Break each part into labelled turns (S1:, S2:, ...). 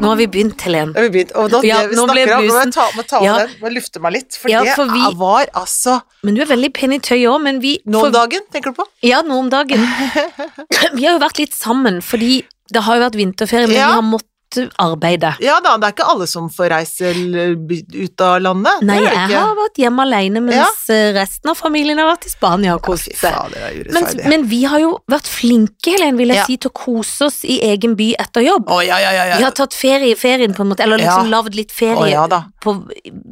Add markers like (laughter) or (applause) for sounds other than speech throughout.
S1: Nå har vi begynt, Helen.
S2: Da har vi begynt. Og nå,
S1: Ja,
S2: det vi
S1: nå ble
S2: snakker om, nå må jeg
S1: brusen-
S2: ta, må ta av
S1: Ja.
S2: den, må jeg lufte meg litt, for
S1: Ja,
S2: det
S1: for vi-
S2: er- var altså
S1: Men du er veldig pen i tøyet òg, men vi
S2: Nå
S1: for-
S2: om dagen, tenker du på?
S1: Ja, nå om
S2: (laughs)
S1: dagen. Vi har jo vært litt sammen, fordi det har jo vært vinterferie, men
S2: Ja.
S1: vi har måttet arbeide.
S2: Ja da, det er ikke alle som får reise l- by- ut av landet.
S1: Nei,
S2: det er det
S1: jeg
S2: ikke.
S1: har vært hjemme alene, mens eh, resten av familien har vært i Spania og kost
S2: Fy
S1: seg.
S2: fader, det er
S1: Men,
S2: urettferdig.
S1: men vi har jo vært flinke, Helen, vil jeg
S2: Ja.
S1: si, til å kose oss i egen by etter jobb.
S2: Å ja, ja, ja. ja.
S1: Vi har tatt ferie i ferien, på en måte, eller liksom
S2: Ja.
S1: lagd litt ferie
S2: Å, ja da.
S1: på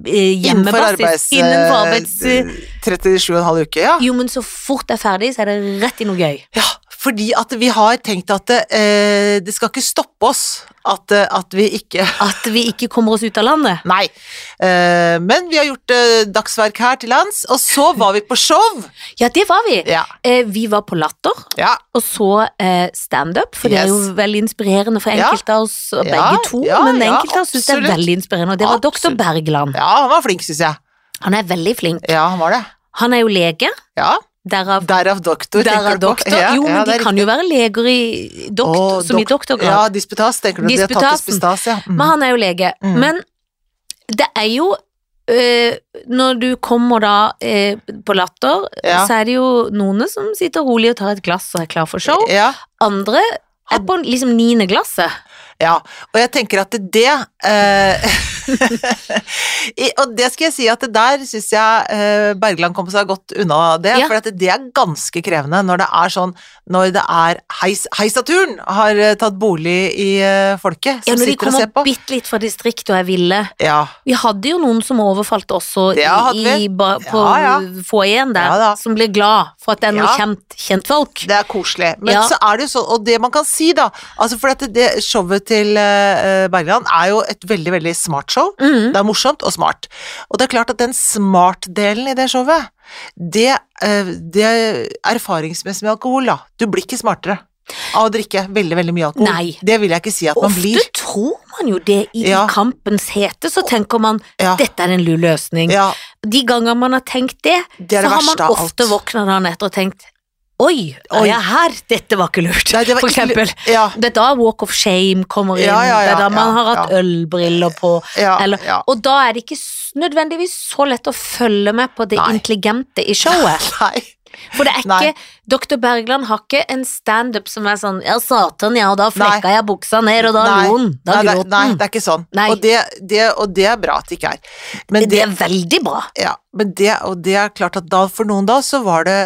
S1: eh, hjemmebasis. Innenfor arbeids...
S2: eh, 37,5 uke, ja.
S1: Jo, men så fort jeg er ferdig, så er det rett i noe gøy.
S2: Ja, fordi at vi har tenkt at eh, det skal ikke stoppe oss at, eh, at vi ikke (laughs)
S1: At vi ikke kommer oss ut av landet.
S2: Nei. Eh, men vi har gjort eh, dagsverk her til lands, og så var vi på show.
S1: Ja, det var vi.
S2: Ja.
S1: Eh, vi var på Latter.
S2: ja.
S1: Og så eh, standup, for det er
S2: Yes.
S1: jo veldig inspirerende for
S2: Ja.
S1: enkelte av oss, og
S2: Ja,
S1: begge to,
S2: ja,
S1: men
S2: ja,
S1: enkelte av oss syns det er
S2: absolutt.
S1: veldig inspirerende, og det var doktor
S2: Absolutt.
S1: Bergland.
S2: Ja, han var flink, syns jeg.
S1: Han er veldig flink.
S2: Ja, han var det.
S1: Han er jo lege,
S2: Ja,
S1: derav
S2: Derav doktor,
S1: Derav
S2: tenker du på.
S1: doktor.
S2: Ja,
S1: jo, men
S2: ja, det
S1: de
S2: er
S1: kan jo være leger i doktor,
S2: Å,
S1: som i
S2: dokt-
S1: doktorgrad.
S2: Ja, disputas, tenker du. De har tatt
S1: Disputasen.
S2: disputas, ja. Mm.
S1: Men han er jo lege.
S2: Mm.
S1: Men det er jo eh, Når du kommer da eh, på Latter,
S2: Ja.
S1: så er det jo noen som sitter rolig og tar et glass og er klar for show.
S2: Ja,
S1: Andre er på liksom niende glasset.
S2: ja. Og jeg tenker at det eh, (laughs) i- Og det skal jeg si at det der syns jeg eh, Bergland kom seg godt unna det,
S1: Ja.
S2: for at det er ganske krevende når det er sån Når det er heis, Heisaturen har eh, tatt bolig i eh, folket
S1: Ja,
S2: som
S1: når de
S2: sitter og ser
S1: kommer
S2: på.
S1: bitte litt fra distriktet og er ville.
S2: Ja,
S1: Vi hadde jo noen som overfalt også
S2: Det hadde
S1: i, i,
S2: vi.
S1: ba- på
S2: Ja, ja.
S1: foajeen der,
S2: Ja, da.
S1: som ble glad for at det er noe
S2: Ja.
S1: kjent, kjentfolk.
S2: Det er koselig. Men
S1: Ja.
S2: så er det jo sånn, og det man kan si, da altså For at det showet til eh, Bergland er jo et veldig, veldig smart show.
S1: Mm.
S2: Det er morsomt og smart. Og det er klart at den smart-delen i det showet, det, eh, det er erfaringsmessig med alkohol, da. Du blir ikke smartere av å drikke veldig, veldig mye alkohol.
S1: Nei.
S2: Det vil jeg ikke si at man
S1: Ofte
S2: blir.
S1: tror man jo det i
S2: Ja.
S1: kampens hete, så tenker man
S2: Ja.
S1: dette er en lur løsning.
S2: Ja,
S1: De ganger man har tenkt det,
S2: Det er det
S1: så har
S2: verste
S1: man
S2: av
S1: ofte
S2: alt.
S1: våkna dagen etter og tenkt Oi, er
S2: Oi.
S1: jeg her? Dette var ikke lurt,
S2: Nei, det var
S1: for
S2: ikke lurt.
S1: eksempel.
S2: ja,
S1: Det er da walk of shame kommer inn,
S2: Ja, ja,
S1: det
S2: ja,
S1: er da man
S2: ja,
S1: har hatt
S2: ja.
S1: ølbriller på.
S2: ja,
S1: Eller,
S2: ja.
S1: Og da er det ikke s- nødvendigvis så lett å følge med på det
S2: Nei.
S1: intelligente i showet.
S2: (laughs) Nei.
S1: For det er ikke
S2: (laughs) Nei.
S1: Dr. Bergland har ikke en standup som er sånn Ja, satan, ja, og da flekka jeg buksa ned, og da
S2: Nei.
S1: lo han. Da
S2: nei, det,
S1: gråt
S2: nei,
S1: han.
S2: det er ikke sånn.
S1: Nei.
S2: Og det, det, og det er bra at det ikke er. Men
S1: Det er veldig bra.
S2: Ja, men det, og det er klart at da, for noen da, så var det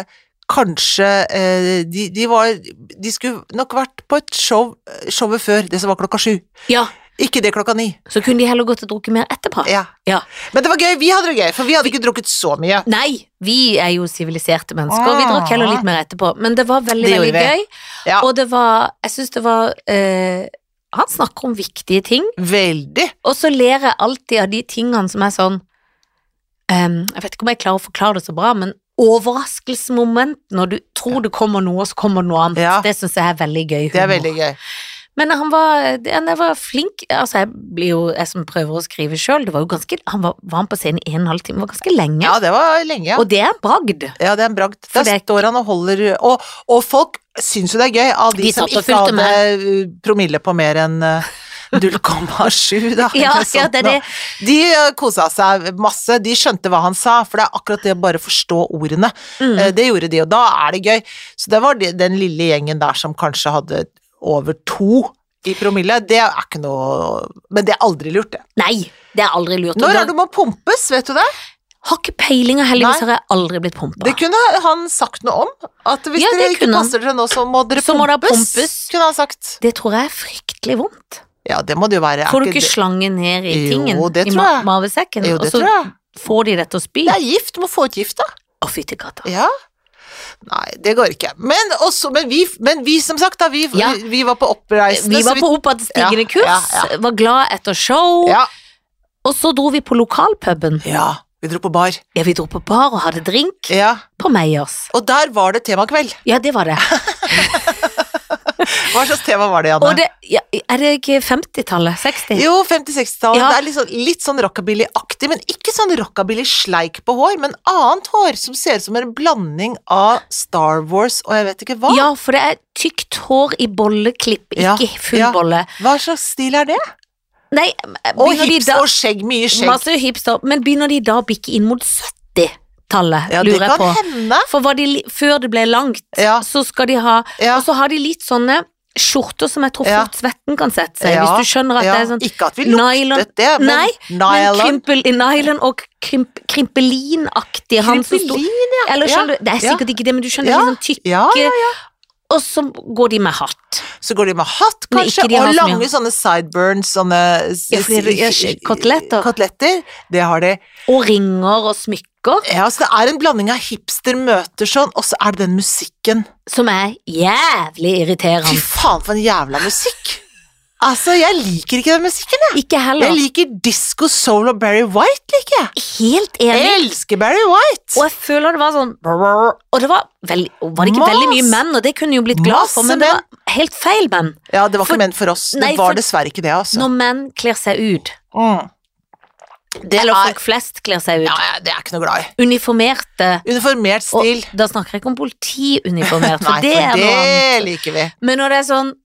S2: kanskje eh, de, de var De skulle nok vært på et show eh, showet før, det som var klokka sju.
S1: Ja,
S2: Ikke det klokka ni.
S1: så kunne de heller gått og drukket mer etterpå.
S2: Ja.
S1: Ja.
S2: Men det var gøy, vi hadde det gøy, for vi hadde ikke drukket så mye.
S1: Nei, vi er jo siviliserte mennesker, og vi
S2: Ah.
S1: drakk heller litt mer etterpå. Men det var veldig,
S2: Det gjorde
S1: veldig gøy,
S2: Ja.
S1: og det var Jeg syns det var eh, Han snakker om viktige ting,
S2: Veldig.
S1: og så ler jeg alltid av de tingene som er sånn em, Jeg vet ikke om jeg klarer å forklare det så bra, men overraskelsesmoment når du tror det kommer noe, og så kommer det noe annet.
S2: Ja.
S1: Det syns jeg er veldig gøy.
S2: Det er
S1: humor.
S2: veldig gøy.
S1: Men han var, det- han var flink. Altså, jeg blir jo Jeg som prøver å skrive sjøl, det var jo ganske Han var, var han på scenen i en og en halv time, det var ganske lenge.
S2: Ja, det var lenge. Ja,
S1: Og det er en bragd.
S2: ja det er en bragd.
S1: For
S2: Der
S1: det er-
S2: står han og holder Og, og folk syns jo det er gøy, av de,
S1: De
S2: som
S1: satt og
S2: ikke
S1: fulgte
S2: hadde eh, promille på mer enn eh, 0,7, da.
S1: (laughs) Ja,
S2: eller sånt
S1: ja, det er
S2: nå.
S1: det.
S2: De eh, kosa seg masse, de skjønte hva han sa, for det er akkurat det å bare forstå ordene.
S1: Mm.
S2: Eh, Det gjorde de, og da er det gøy. Så det var de, den lille gjengen der som kanskje hadde over to i promille, det er ikke noe Men det er aldri lurt, det.
S1: Nei, det er aldri lurt.
S2: Når er det må pumpes, vet du det?
S1: Har ikke peiling, og heldigvis
S2: Nei.
S1: har jeg aldri blitt pumpa.
S2: Det kunne han sagt noe om. At hvis
S1: Ja,
S2: dere
S1: det
S2: ikke
S1: kunne han.
S2: passer dere nå, så må dere
S1: Så må dere
S2: pumpes,
S1: pumpes.
S2: kunne han sagt.
S1: Det tror jeg er fryktelig vondt.
S2: Ja, det må det jo være. Er
S1: Får du ikke
S2: det-
S1: slangen ned i
S2: Jo,
S1: tingen,
S2: det
S1: i
S2: tror
S1: ma
S2: jeg.
S1: mavesekken,
S2: Jo,
S1: og
S2: det
S1: så
S2: tror jeg.
S1: får de det til å spy?
S2: Det er gift, du må få ut gift, da.
S1: Å, fytti katta.
S2: Ja. Nei, det går ikke. Men, også, men, vi, men vi, som sagt, da, vi,
S1: Ja.
S2: vi var på oppreisende.
S1: Vi
S2: så
S1: var på oppadstigende
S2: Ja,
S1: kurs,
S2: ja,
S1: var glad etter show,
S2: ja.
S1: og så dro vi på lokalpuben.
S2: ja, vi dro på bar.
S1: Ja, vi dro på bar og hadde drink
S2: Ja.
S1: på Meyers.
S2: Og der var det temakveld.
S1: Ja, det var det.
S2: Hva slags tema var det,
S1: Og
S2: Janne?
S1: det ja, Er det ikke 50-tallet? 60?
S2: Jo, 50-60-tallet.
S1: Ja.
S2: Det er litt sånn, litt sånn rockabilly-aktig, men ikke sånn rockabilly-sleik på hår, men annet hår som ser ut som en blanding av Star Wars og jeg vet ikke hva.
S1: Ja, for det er tykt hår i bolleklipp,
S2: Ja,
S1: ikke full
S2: ja.
S1: bolle.
S2: Hva slags stil er det?
S1: Nei,
S2: Og
S1: begynner de
S2: hips
S1: da
S2: og skjegg, mye skjegg.
S1: Masse hipster, men begynner de da å bikke inn mot 70-tallet,
S2: Ja, det
S1: lurer jeg
S2: kan
S1: på.
S2: hende.
S1: For var de, li- før det ble langt,
S2: Ja,
S1: så skal de ha
S2: ja,
S1: Og så har de litt sånne skjorter som jeg tror
S2: Ja.
S1: fort svetten kan sette seg,
S2: Ja,
S1: hvis du skjønner at
S2: ja.
S1: det er sånn
S2: Ikke at vi
S1: nylon-
S2: luktet det, men
S1: Nei, men
S2: nylon
S1: krympel, nylon og krymp, krympelinaktig han som sto
S2: Krympelin,
S1: Eller
S2: ja,
S1: skjønner du, det er
S2: ja.
S1: sikkert ikke det, men du skjønner
S2: Ja,
S1: litt sånn tykke
S2: ja, ja,
S1: Og så går de med hatt.
S2: Så går de med hatt,
S1: Men
S2: kanskje,
S1: ikke de har
S2: og
S1: så mye.
S2: lange sånne sideburns, sånne s-
S1: Ja, fordi det er ikke- koteletter.
S2: Koteletter, det har de.
S1: Og ringer og smykker,
S2: Ja, så det er en blanding av hipster møter sånn, og så er det den musikken.
S1: som er jævlig
S2: Fy
S1: irriterende.
S2: faen, for en jævla musikk! Altså, jeg liker ikke den musikken, jeg.
S1: Ikke
S2: Jeg
S1: heller.
S2: liker disco, soul og Barry White, liker jeg.
S1: Helt enig.
S2: Jeg elsker Barry White!
S1: Og jeg føler det var sånn Og det var, veldig, var det ikke
S2: Mas-
S1: veldig mye menn, og det kunne jeg jo blitt glad for,
S2: Masse
S1: men det var helt feil menn.
S2: Ja, det var
S1: For-
S2: ikke ment for oss.
S1: Nei,
S2: det var
S1: for-
S2: dessverre ikke det, altså.
S1: Når menn kler seg ut,
S2: Mm. Det,
S1: eller
S2: er,
S1: folk flest kler seg ut,
S2: ja, ja, det er jeg ikke noe glad i.
S1: uniformerte
S2: Uniformert stil.
S1: og Da snakker jeg ikke om
S2: (laughs)
S1: politiuniformert,
S2: Nei,
S1: for det er
S2: for
S1: noe annet.
S2: det liker vi.
S1: Men når det er sånn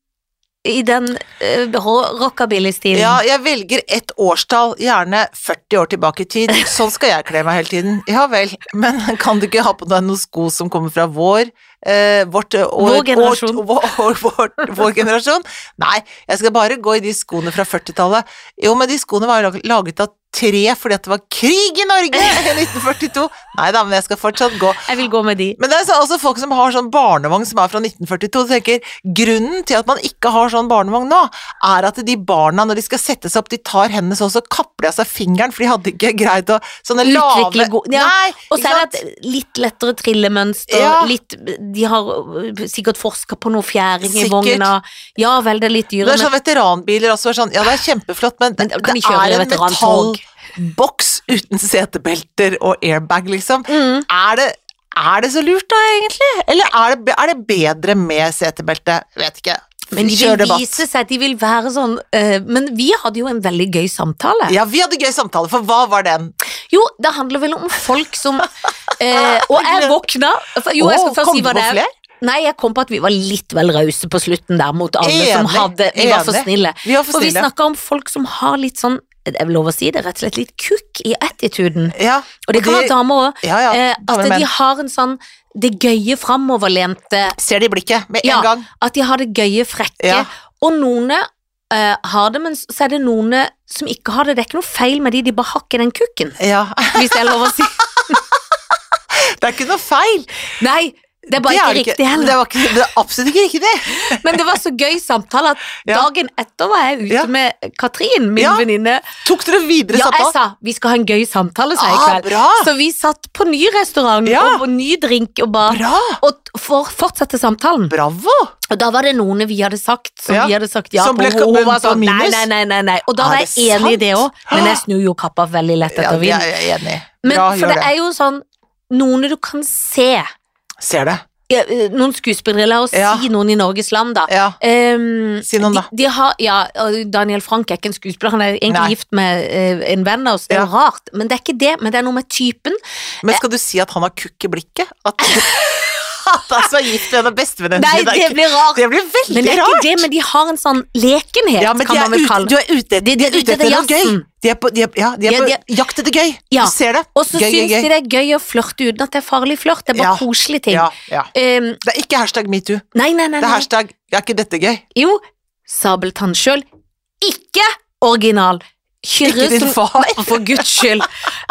S1: i den eh, rå- rockabilly-stilen
S2: Ja, jeg velger et årstall, gjerne 40 år tilbake i
S1: (laughs)
S2: tid. Sånn skal jeg kle meg hele tiden. Ja vel, men kan du ikke ha på deg noen sko som kommer fra vår eh, vårt, eh, år,
S1: Vår generasjon.
S2: år- vår, vår, vår, vår generasjon? Nei, jeg skal bare gå i de skoene fra 40-tallet. Jo, men de skoene var jo lag- laget av tre fordi at det var krig i Norge i 1942. Nei da, men jeg skal fortsatt gå.
S1: Jeg vil gå med de.
S2: Men det er så- altså folk som har sånn barnevogn som er fra 1942, og tenker grunnen til at man ikke har sånn barnevogn nå, er at de barna, når de skal sette seg opp, de tar hendene sånn, så kapper de av seg fingeren, for de hadde ikke greid å Sånne
S1: Utvikle
S2: lave
S1: god- ja,
S2: Nei,
S1: Og så
S2: ikke
S1: er
S2: sant?
S1: det et litt lettere trillemønster,
S2: Ja.
S1: litt, de har eh, sikkert forska på noe fjæring i
S2: Sikkert.
S1: vogna. Ja vel, det er litt
S2: det
S1: dyrere,
S2: er sånn veteranbiler også. er Sånn, ja, det er kjempeflott, men,
S1: Men kan de
S2: det
S1: kjøre
S2: er en
S1: veterantog?
S2: metallboks uten setebelter og airbag, liksom.
S1: Mm.
S2: Er det, er det så lurt, da, egentlig? Eller er det, er det bedre med setebelte? Vet ikke.
S1: Men de
S2: Kjør
S1: vil
S2: debatt.
S1: vise seg, de vil være sånn eh, Men vi hadde jo en veldig gøy samtale.
S2: Ja, vi hadde gøy samtale, for hva var den?
S1: Jo, det handler vel om folk
S2: (laughs)
S1: som eh, Og jeg våkna for- Jo, jeg
S2: Åh,
S1: skal først
S2: kom
S1: si
S2: du
S1: hva
S2: på
S1: det er.
S2: flere?
S1: Nei, jeg kom på at vi var litt vel rause på slutten der mot alle som
S2: Enig,
S1: hadde Vi var for
S2: enig.
S1: snille.
S2: Vi var for
S1: For vi
S2: snille.
S1: snakka om folk som har litt sånn det er vel lov å si det, rett og slett litt kukk i attituden.
S2: Ja,
S1: Og det kan være damer òg.
S2: ja, ja, damer
S1: eh, at
S2: og menn.
S1: de har en sånn det gøye framoverlente
S2: Ser det i blikket med
S1: Ja.
S2: en gang.
S1: At de har det gøye, frekke.
S2: Ja.
S1: Og noen eh, har det, men så er det noen som ikke har det. Det er ikke noe feil med de, de bare har ikke den kukken.
S2: Ja.
S1: Hvis det er lov å si.
S2: (laughs) Det er ikke noe feil.
S1: Nei, det er bare
S2: Det
S1: ikke
S2: er det
S1: riktig heller.
S2: Det, var ikke, det er absolutt ikke riktig.
S1: Men det var så gøy samtale at
S2: Ja.
S1: dagen etter var jeg ute
S2: Ja.
S1: med Katrin, min
S2: Ja.
S1: venninne.
S2: Tok dere videre
S1: Ja, jeg
S2: samtalen?
S1: sa vi skal ha en gøy samtale, sa jeg i
S2: Ah,
S1: kveld.
S2: bra.
S1: Så vi satt på ny restaurant
S2: Ja.
S1: og på ny drink og bar.
S2: Bra!
S1: Og t- for fortsette samtalen.
S2: Bravo!
S1: Og da var det noen vi hadde sagt som
S2: Ja.
S1: vi hadde sagt ja
S2: Som ble
S1: på. og Hun var
S2: kommet på
S1: sånn nei,
S2: minus.
S1: nei, nei, nei, nei. Og da
S2: Er
S1: var
S2: det
S1: jeg enig i det
S2: sant?
S1: òg,
S2: Ah.
S1: men jeg snur jo kappa veldig lett
S2: Ja,
S1: etter
S2: det
S1: vind.
S2: er jeg enig i.
S1: Men
S2: Bra,
S1: for
S2: gjør
S1: det
S2: det.
S1: er jo sånn noen du kan se,
S2: Ser det.
S1: ja, eh, noen skuespillere, la oss
S2: Ja.
S1: si noen i Norges land, da.
S2: Ja.
S1: Ehm,
S2: Si noen, da.
S1: De, de har, ja, og Daniel Frank er ikke en skuespiller, han er egentlig
S2: Nei.
S1: gift med eh, en venn av oss, det er
S2: Ja.
S1: jo rart, men det er ikke det, men det er noe med
S2: (laughs)
S1: typen. Eh.
S2: Men skal du si at han har kukk i blikket? At, (laughs) at han som er gift med en av bestevenninnene
S1: Nei,
S2: dine
S1: det
S2: er
S1: blir
S2: kukk.
S1: rart.
S2: Det blir veldig
S1: Men det er
S2: rart.
S1: ikke det, men de har en sånn lekenhet,
S2: Ja, men de
S1: kan
S2: er
S1: man vel
S2: ute,
S1: kalle
S2: du er ute,
S1: De- de er ute
S2: ute etter
S1: etter
S2: noe gøy.
S1: jazzen.
S2: De er på, de er, ja, de er
S1: Ja,
S2: på
S1: de er-
S2: jakt etter gøy.
S1: Ja.
S2: Du ser det.
S1: Og så
S2: Gøy, gøy,
S1: syns
S2: gøy.
S1: de det er gøy å flirte uten at det er farlig flørt. Det er bare
S2: Ja.
S1: koselige ting.
S2: Ja, ja.
S1: Ehm,
S2: Det er ikke hashtag metoo.
S1: nei, nei, nei.
S2: Det er
S1: nei.
S2: hashtag 'er ikke dette gøy'?
S1: Jo, Sabeltann sjøl. Ikke original. Kyrre
S2: Ikke din
S1: som
S2: far.
S1: Nei, For guds skyld.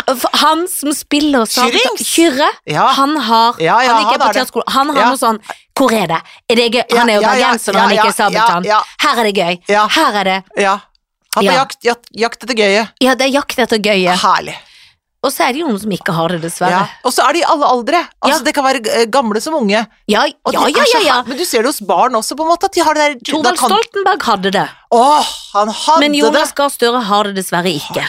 S1: For Han som spiller Sabeltann
S2: Kyrrings?
S1: Kyrre,
S2: Ja.
S1: han har
S2: Ah. Ja, ja,
S1: Han ikke
S2: han
S1: er på
S2: har det.
S1: teaterskole. Han har
S2: Ja.
S1: noe sånn Hvor er det? Er det gøy? Han er jo
S2: Ja, ja, ja,
S1: bergenser når
S2: ja,
S1: han ikke er
S2: ja,
S1: Sabeltann.
S2: Ja,
S1: Her er det gøy.
S2: Ja.
S1: Her er det
S2: ja. Han på
S1: Ja.
S2: jakt, jakt, jakt etter gøyet.
S1: Ja, det er jakt etter gøye.
S2: Herlig.
S1: Og så er det jo noen som ikke har det,
S2: Ah. Ja.
S1: dessverre.
S2: Og så er de i alle aldre. Altså,
S1: Ja.
S2: Det kan være eh, gamle som unge.
S1: Ja,
S2: Og de
S1: ja, ja.
S2: er så
S1: ja, ja.
S2: her- Men du ser det hos barn også, på en måte. At de har det der da
S1: Thorvald
S2: kan-
S1: Stoltenberg hadde det.
S2: Åh, han hadde
S1: Men Jonas
S2: det!
S1: Gahr Støre har det dessverre ikke.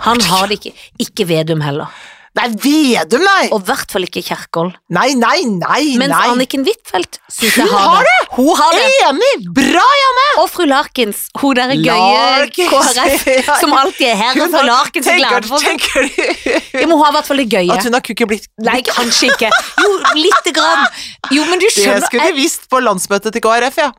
S1: Han har det ikke. Ikke Vedum heller.
S2: Nei, Vedum, nei!
S1: Og i hvert fall ikke Kjerkol.
S2: Nei, nei, nei!
S1: Mens
S2: nei.
S1: Anniken Huitfeldt syns
S2: Hun
S1: jeg har
S2: har
S1: det. Hun har det.
S2: Enig! Bra, Janne!
S1: Og fru Larkins. Hun der gøye
S2: Larkins,
S1: KrF
S2: (laughs) ja.
S1: som alltid er her. Og fru
S2: har-
S1: Larkins er glad
S2: tenker,
S1: for det.
S2: tenker du
S1: Ja, men hun har i hvert fall det gøye.
S2: (laughs) at hun har kukk i blikk?
S1: Nei, kanskje ikke. Jo, lite grann. Jo, men du
S2: Det
S1: skjønner
S2: skulle de visst på landsmøtet til KrF, ja.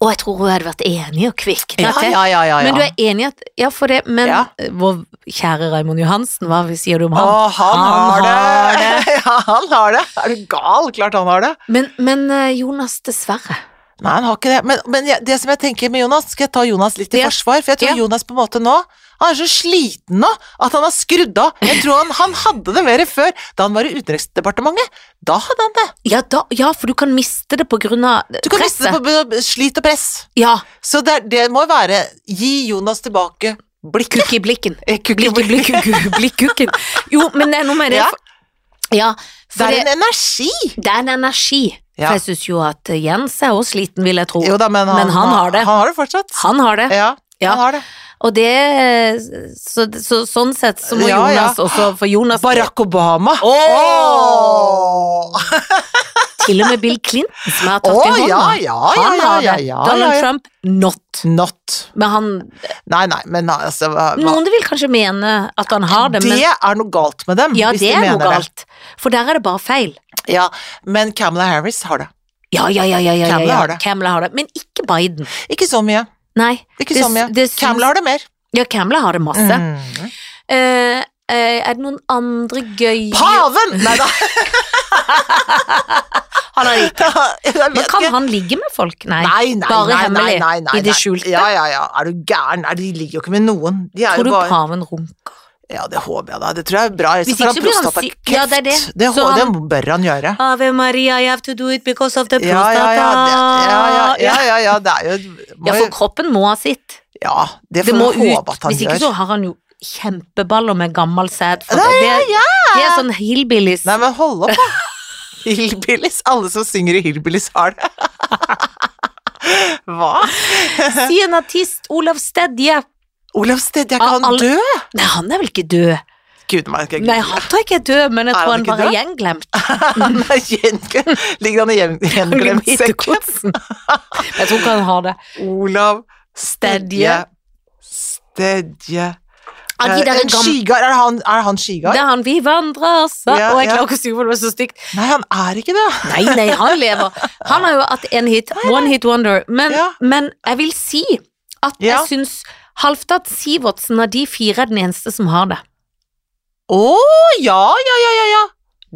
S1: Og jeg tror hun hadde vært enig og kvikk.
S2: Ja, ja, ja, ja, ja.
S1: Men du er enig i at Ja, for det Men
S2: Ja.
S1: eh, vår kjære Raymond Johansen, hva sier du om
S2: Å,
S1: han?
S2: han har
S1: har
S2: det! (laughs) ja, han har det! Er du gal? Klart han har det.
S1: Men, men eh, Jonas, dessverre.
S2: Nei, han har ikke det. Men, men jeg, det som jeg tenker med Jonas, skal jeg ta Jonas litt i
S1: Ja.
S2: forsvar? For jeg tror
S1: Ja.
S2: Jonas på en måte nå Han er så sliten nå at han har skrudd av. Jeg tror han, han hadde det mer før, da han var i Utenriksdepartementet. Da hadde han det.
S1: Ja, da, ja, for du kan miste det på grunn av
S2: Du kan miste det på på slit og press.
S1: Ja,
S2: Så det, er- det må være Gi Jonas tilbake blikket.
S1: kukk i blikken.
S2: Eh, kukk-
S1: Blikk i blikken, kukk- blikk kukken. Jo, men det er noe med det.
S2: Ja.
S1: for- Ja,
S2: Det
S1: for
S2: er
S1: det,
S2: en energi!
S1: det er en energi.
S2: Ja.
S1: For jeg syns jo at eh, Jens er også sliten, vil jeg tro.
S2: Jo da, men han,
S1: Men han har det.
S2: Han har det fortsatt.
S1: Han har det.
S2: Ja,
S1: Ja.
S2: han har det.
S1: Og det eh, så, så, Sånn sett så må
S2: Ja, ja.
S1: Jonas også For Jonas
S2: Barack Obama!
S1: Åh!
S2: Åh!
S1: Til og med Bill Clinton som har tatt
S2: Åh,
S1: i hånda.
S2: ja, ja, ja,
S1: han har
S2: ja,
S1: det.
S2: ja,
S1: Donald
S2: ja, ja.
S1: Trump not.
S2: Not.
S1: Men han,
S2: Nei, nei, men altså hva, hva?
S1: noen vil kanskje mene at han har det, men
S2: Det er noe galt med dem,
S1: ja,
S2: hvis
S1: det
S2: du
S1: er noe
S2: mener
S1: galt. For der er det bare feil.
S2: det. Ja, men Kamala Harris har det.
S1: Ja, ja, ja, ja, ja, ja,
S2: Kamala
S1: ja.
S2: har det.
S1: Kamala har det. Men ikke Biden.
S2: Ikke så mye.
S1: Nei.
S2: Ikke
S1: Det
S2: så
S1: s-
S2: mye.
S1: det syns-
S2: Kamala har det mer.
S1: Ja, Kamala har det masse.
S2: Mm.
S1: Eh, eh, er det noen andre gøye
S2: Paven! Nei da,
S1: (laughs)
S2: (laughs)
S1: Han har ikke.
S2: (laughs) jeg
S1: Men
S2: vet
S1: kan
S2: ikke.
S1: han ligge med folk? Nei.
S2: Nei, nei,
S1: Bare
S2: nei, nei,
S1: hemmelig,
S2: nei, nei,
S1: i det
S2: nei.
S1: skjulte?
S2: Ja, ja, ja. Er du gæren? Nei, de ligger jo ikke med noen. De er
S1: Tror
S2: jo
S1: du
S2: bare
S1: paven runker?
S2: Ja, det håper jeg da. Det tror jeg er bra.
S1: Hvis
S2: Så får
S1: ikke så blir han
S2: prostatakreft.
S1: si- Ja, det er det.
S2: Det,
S1: Så
S2: hå-
S1: han-
S2: det bør han gjøre.
S1: Ave Maria, I have to do it because of the
S2: Ja,
S1: prostata.
S2: ja, ja. Det, ja, ja, ja, ja, ja, det er jo
S1: Ja,
S2: må,
S1: for kroppen må ha sitt.
S2: Ja, det
S1: Det
S2: får
S1: må
S2: vi håpe
S1: ut.
S2: at han
S1: Hvis ikke
S2: gjør.
S1: så har han jo kjempeballer med gammel sæd. for
S2: Ja,
S1: det- det, er- det er sånn hillbillies.
S2: Nei, men hold opp, da. (laughs) Hillbillies. Alle som synger i Hillbillies, har det. (laughs) Hva?
S1: Si en artist, Olav Stedje.
S2: Olav Stedje,
S1: Ah,
S2: kan han
S1: alle-
S2: dø?
S1: Nei, han er vel ikke død?
S2: Gud, meg, jeg (laughs)
S1: Nei, han tror jeg ikke er død, men jeg
S2: Er
S1: tror han
S2: han ikke
S1: bare er
S2: død?
S1: gjenglemt.
S2: Han er gjen- Ligger han i gjen-
S1: Han ligger
S2: gjenglemt
S1: i
S2: sekk?
S1: hittekotsen. Jeg tror ikke han har det.
S2: Olav Stedje.
S1: Stedje.
S2: Stedje.
S1: Ja, de
S2: Eh,
S1: der
S2: en
S1: gam-
S2: skygard. Er han, er han skygard?
S1: Det er han vi vandrer, sa
S2: Ja,
S1: Og jeg
S2: ja.
S1: klarer ikke å si for det var så stygt.
S2: Nei, han er ikke det.
S1: Nei, nei, han lever. Han har jo hatt en hit. One hit wonder. Men,
S2: Ja.
S1: men jeg vil si at
S2: Ja.
S1: jeg syns Halvdan Sivertsen av de fire er den eneste som har det.
S2: Å, ja, ja, ja, ja, ja.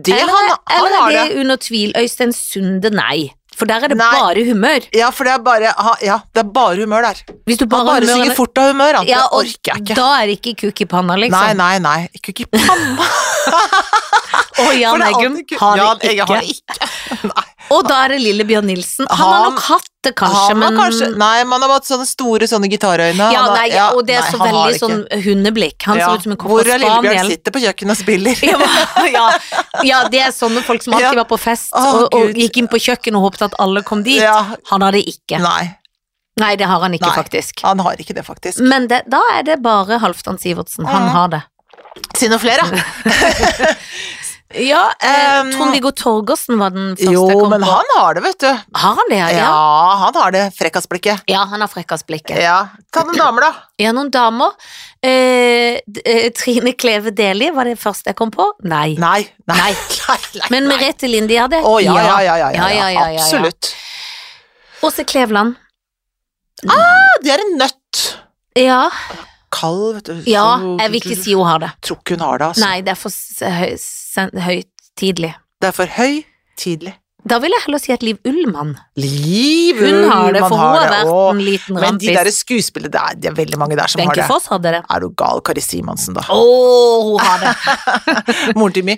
S2: Det
S1: Eller,
S2: han, han
S1: eller
S2: har
S1: er
S2: det.
S1: det under tvil Øystein Sunde, nei. For der er det
S2: Nei.
S1: bare humør.
S2: Ja, for det er bare, ha- ja, det er bare humør der.
S1: Hvis du
S2: Han
S1: bare,
S2: bare
S1: humøren-
S2: synger fort av humør, han.
S1: ja,
S2: det
S1: og
S2: orker jeg ikke.
S1: Da er det ikke kuk i panna, liksom.
S2: Nei, nei, nei. Ikke ikke panna.
S1: Og (laughs)
S2: for
S1: Jan
S2: det er
S1: Eggum
S2: alltid ku-
S1: har
S2: Jan
S1: det
S2: Eggum
S1: ikke.
S2: har det ikke. Nei,
S1: Og da er det lille Bjørn Nilsen. Han, har
S2: Han-
S1: nok hatt det, kanskje,
S2: han har
S1: men
S2: kanskje, nei, man har hatt sånne store sånne gitarøyne.
S1: ja,
S2: Han har-
S1: nei,
S2: ja,
S1: Og det er
S2: nei,
S1: så
S2: han har
S1: veldig
S2: det ikke.
S1: sånn hundeblikk. Han
S2: Ja.
S1: ser ut som en kopp
S2: Hvor er
S1: av
S2: Lillebjørn?
S1: spaniel.
S2: Sitter på kjøkkenet og spiller.
S1: (laughs) Ja, men- ja, ja, det er sånne folk som alltid
S2: Ja.
S1: var på fest
S2: Å,
S1: og, og
S2: Gud.
S1: gikk inn på kjøkkenet og håpet at alle kom dit.
S2: Ja.
S1: Han har det ikke.
S2: Nei,
S1: Nei, det har han ikke,
S2: Nei.
S1: faktisk.
S2: han har ikke det, faktisk.
S1: Men det, da er det bare Halvdan Sivertsen. Han
S2: Mhm.
S1: har det.
S2: Si noe flere, da.
S1: Ja, eh,
S2: Um,
S1: Trond-Viggo Torgersen var den første
S2: Jo,
S1: jeg kom
S2: men
S1: på.
S2: han har det, vet du.
S1: Har han det? Ja, ja.
S2: Ja, han har det frekkasblikket.
S1: ja han har frekkasblikket.
S2: Ja. Ta noen damer, da.
S1: Ja, noen damer. Eh, d- eh, Trine Kleve Deli var det første jeg kom på. Nei.
S2: Nei. Nei.
S1: Nei.
S2: (laughs) nei,
S1: Men
S2: nei.
S1: Merete Lindi hadde
S2: Å, ja, ja, ja, ja, ja, ja, Absolutt.
S1: Åse Kleveland.
S2: Ja, det er en nøtt.
S1: Ja.
S2: Kald, vet du.
S1: ja,
S2: Så-
S1: jeg vil ikke si hun har det.
S2: Tror ikke hun har det, altså.
S1: Nei, det er for s- høy- sen- høytidlig.
S2: Det er for høy, tidlig.
S1: Da vil jeg heller si at Liv Ullmann.
S2: Liv!
S1: Hun har det,
S2: man
S1: for hun har
S2: det.
S1: vært
S2: Å,
S1: en liten
S2: Men de der
S1: rampis.
S2: skuespillere, det er, det er veldig mange der som
S1: Benke
S2: har det.
S1: Foss hadde det.
S2: Er du gal, Kari Simonsen, da?
S1: Å, hun har det.
S2: (laughs) Moren til Mi.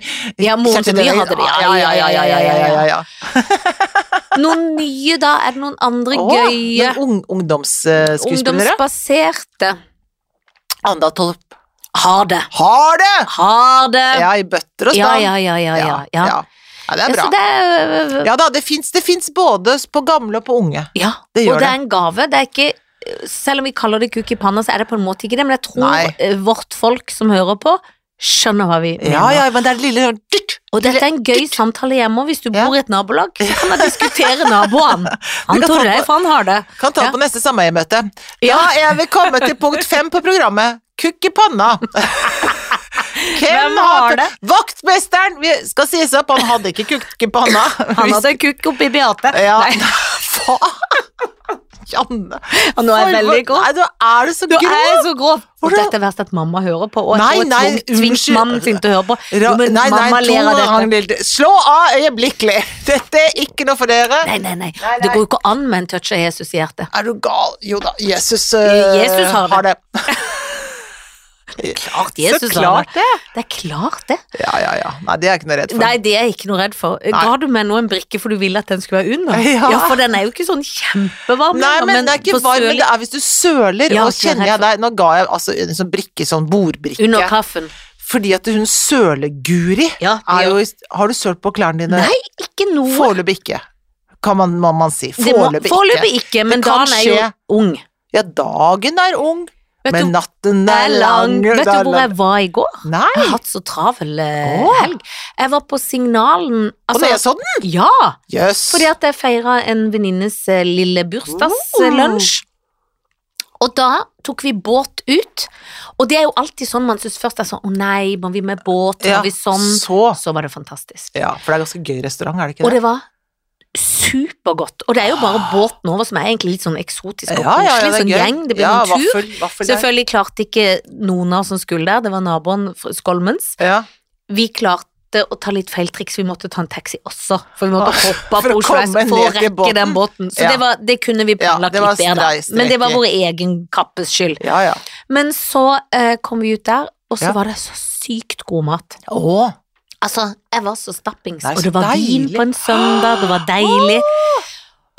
S1: Ja, moren til Mi
S2: Kjente
S1: hadde det. Ja,
S2: Ja, ja, ja, ja, ja, ja, ja, ja.
S1: Noen nye, da? Er det noen andre
S2: Å,
S1: gøye?
S2: men ung, ungdomsskuespillere?
S1: Ungdomsbaserte.
S2: Anda Torp.
S1: Har det.
S2: Har det!
S1: Har det.
S2: Ja, i bøtter og
S1: Ja,
S2: spann.
S1: ja, ja, ja, ja. ja.
S2: ja. Ja, det er
S1: Ja, så
S2: bra.
S1: det er, øh,
S2: Ja da, det fins, det fins både på gamle og på unge.
S1: ja.
S2: Det gjør
S1: og det
S2: det.
S1: er en gave. Det er ikke, øh, selv om vi kaller det kuk i panna, så er det på en måte ikke det. Men jeg tror
S2: Nei.
S1: eh, vårt folk som hører på, skjønner hva vi mener.
S2: Ja ja, men det er det lille sånn dyrt.
S1: Og dette er en gøy samtale hjemme, og hvis du
S2: Ja.
S1: bor i et nabolag, så kan
S2: (laughs)
S1: man diskutere naboene. Han
S2: kan
S1: tror
S2: ta
S1: det,
S2: på-
S1: for han har det.
S2: Kan ta
S1: Ja.
S2: på neste sameiemøte. Ja,
S1: Ja.
S2: jeg vil komme
S1: (laughs)
S2: til punkt fem på programmet. Kukk i panna.
S1: Hvem har det?
S2: Vaktmesteren! Vi skal sies opp, han hadde (laughs) ikke kukk i panna.
S1: Han
S2: Hvis-
S1: hadde en kukk oppi Beate.
S2: ja.
S1: Nei.
S2: Faen! Janne.
S1: Og nå er jeg
S2: for-
S1: veldig grov.
S2: Nei, du er du så
S1: Du
S2: grov!
S1: er så grov! Og
S2: Hvordan-
S1: dette er verst at mamma hører på, og
S2: Nei,
S1: jeg
S2: nei,
S1: tror jeg tvingt
S2: unnskyld.
S1: mannen sin til å høre på. Jo,
S2: Ra-
S1: men
S2: nei, nei,
S1: mamma ler av
S2: to
S1: dette.
S2: ganger. Slå av øyeblikkelig! Dette er ikke noe for dere.
S1: Nei, nei, nei.
S2: Nei,
S1: Det går
S2: nei.
S1: jo ikke an med en touch av Jesus i hjertet.
S2: Er du gal? Jo da, Jesus,
S1: Eh,
S2: eh,
S1: Jesus har
S2: det.
S1: Klart (laughs) Jesus
S2: så
S1: sa det.
S2: klart det.
S1: Det er klart det.
S2: Ja, ja, ja. Nei, det er jeg ikke noe redd for.
S1: Nei, det er jeg ikke noe redd for. Ga du meg nå en brikke for du ville at den skulle være under?
S2: Ja.
S1: for den er jo ikke sånn kjempevarm.
S2: Nei,
S1: ennå,
S2: men, det er ikke
S1: for
S2: varm, men
S1: sølig-
S2: det er hvis du søler,
S1: Ja,
S2: og
S1: ikke
S2: kjenner jeg
S1: helt
S2: deg Nå ga jeg altså en sånn brikke, sånn bordbrikke.
S1: Under kaffen.
S2: Fordi at hun søleguri
S1: Ja, det
S2: er
S1: gjør-
S2: jo i- Har du sølt på klærne dine?
S1: Nei, ikke noe.
S2: Foreløpig ikke, kan man, må man si.
S1: Det må-
S2: Foreløpig
S1: Foreløpig
S2: ikke.
S1: ikke, men
S2: Det kan
S1: dagen er jo
S2: skje.
S1: ung.
S2: Ja, dagen er ung,
S1: Vet
S2: men
S1: du,
S2: natten
S1: det
S2: er lang.
S1: Vet
S2: det
S1: du
S2: er
S1: hvor
S2: lang.
S1: jeg var i går? Jeg
S2: Nei!
S1: har hatt så travel eh,
S2: Åh.
S1: helg. Jeg var på Signalen
S2: På
S1: altså,
S2: Nesodden?
S1: Ja,
S2: sånn. Jøss.
S1: fordi at jeg feira en venninnes eh, lille
S2: Mm.
S1: bursdagslunsj. Oh. Og da tok vi båt ut, og det er jo alltid sånn man syns først er sånn Å nei, må vi med båt? Må
S2: Ja,
S1: vi sånn?
S2: så.
S1: Så var det fantastisk.
S2: Ja, for det er ganske gøy restaurant, er det ikke
S1: Og
S2: det?
S1: det var supergodt. Og det er jo bare båten over som er egentlig litt sånn eksotisk og
S2: ja, ja, ja,
S1: koselig.
S2: det er
S1: Sånn
S2: gøy.
S1: gjeng, det blir
S2: ja,
S1: en tur.
S2: Vaffel, vaffel der.
S1: Selvfølgelig klarte ikke noen av oss som skulle der, det var naboen fra Skolmens.
S2: Ja.
S1: Vi klarte å ta litt feil triks, vi måtte ta en taxi også. For vi måtte hoppe
S2: Ah, For
S1: på
S2: å
S1: Oslo S
S2: komme
S1: for å
S2: ned til
S1: rekke
S2: båten.
S1: den båten. Så
S2: Ja.
S1: det, var, det kunne vi
S2: Ja,
S1: planlagt
S2: det var
S1: litt bedre.
S2: strei strek
S1: Men det var
S2: i.
S1: vår egen kappes skyld.
S2: ja, ja.
S1: Men så eh, kom vi ut der, og så
S2: Ja.
S1: var det så sykt god mat.
S2: Å,
S1: Altså, jeg var så stappings,
S2: Nei,
S1: og
S2: så
S1: det var vin
S2: deilig.
S1: på en søndag, det var deilig.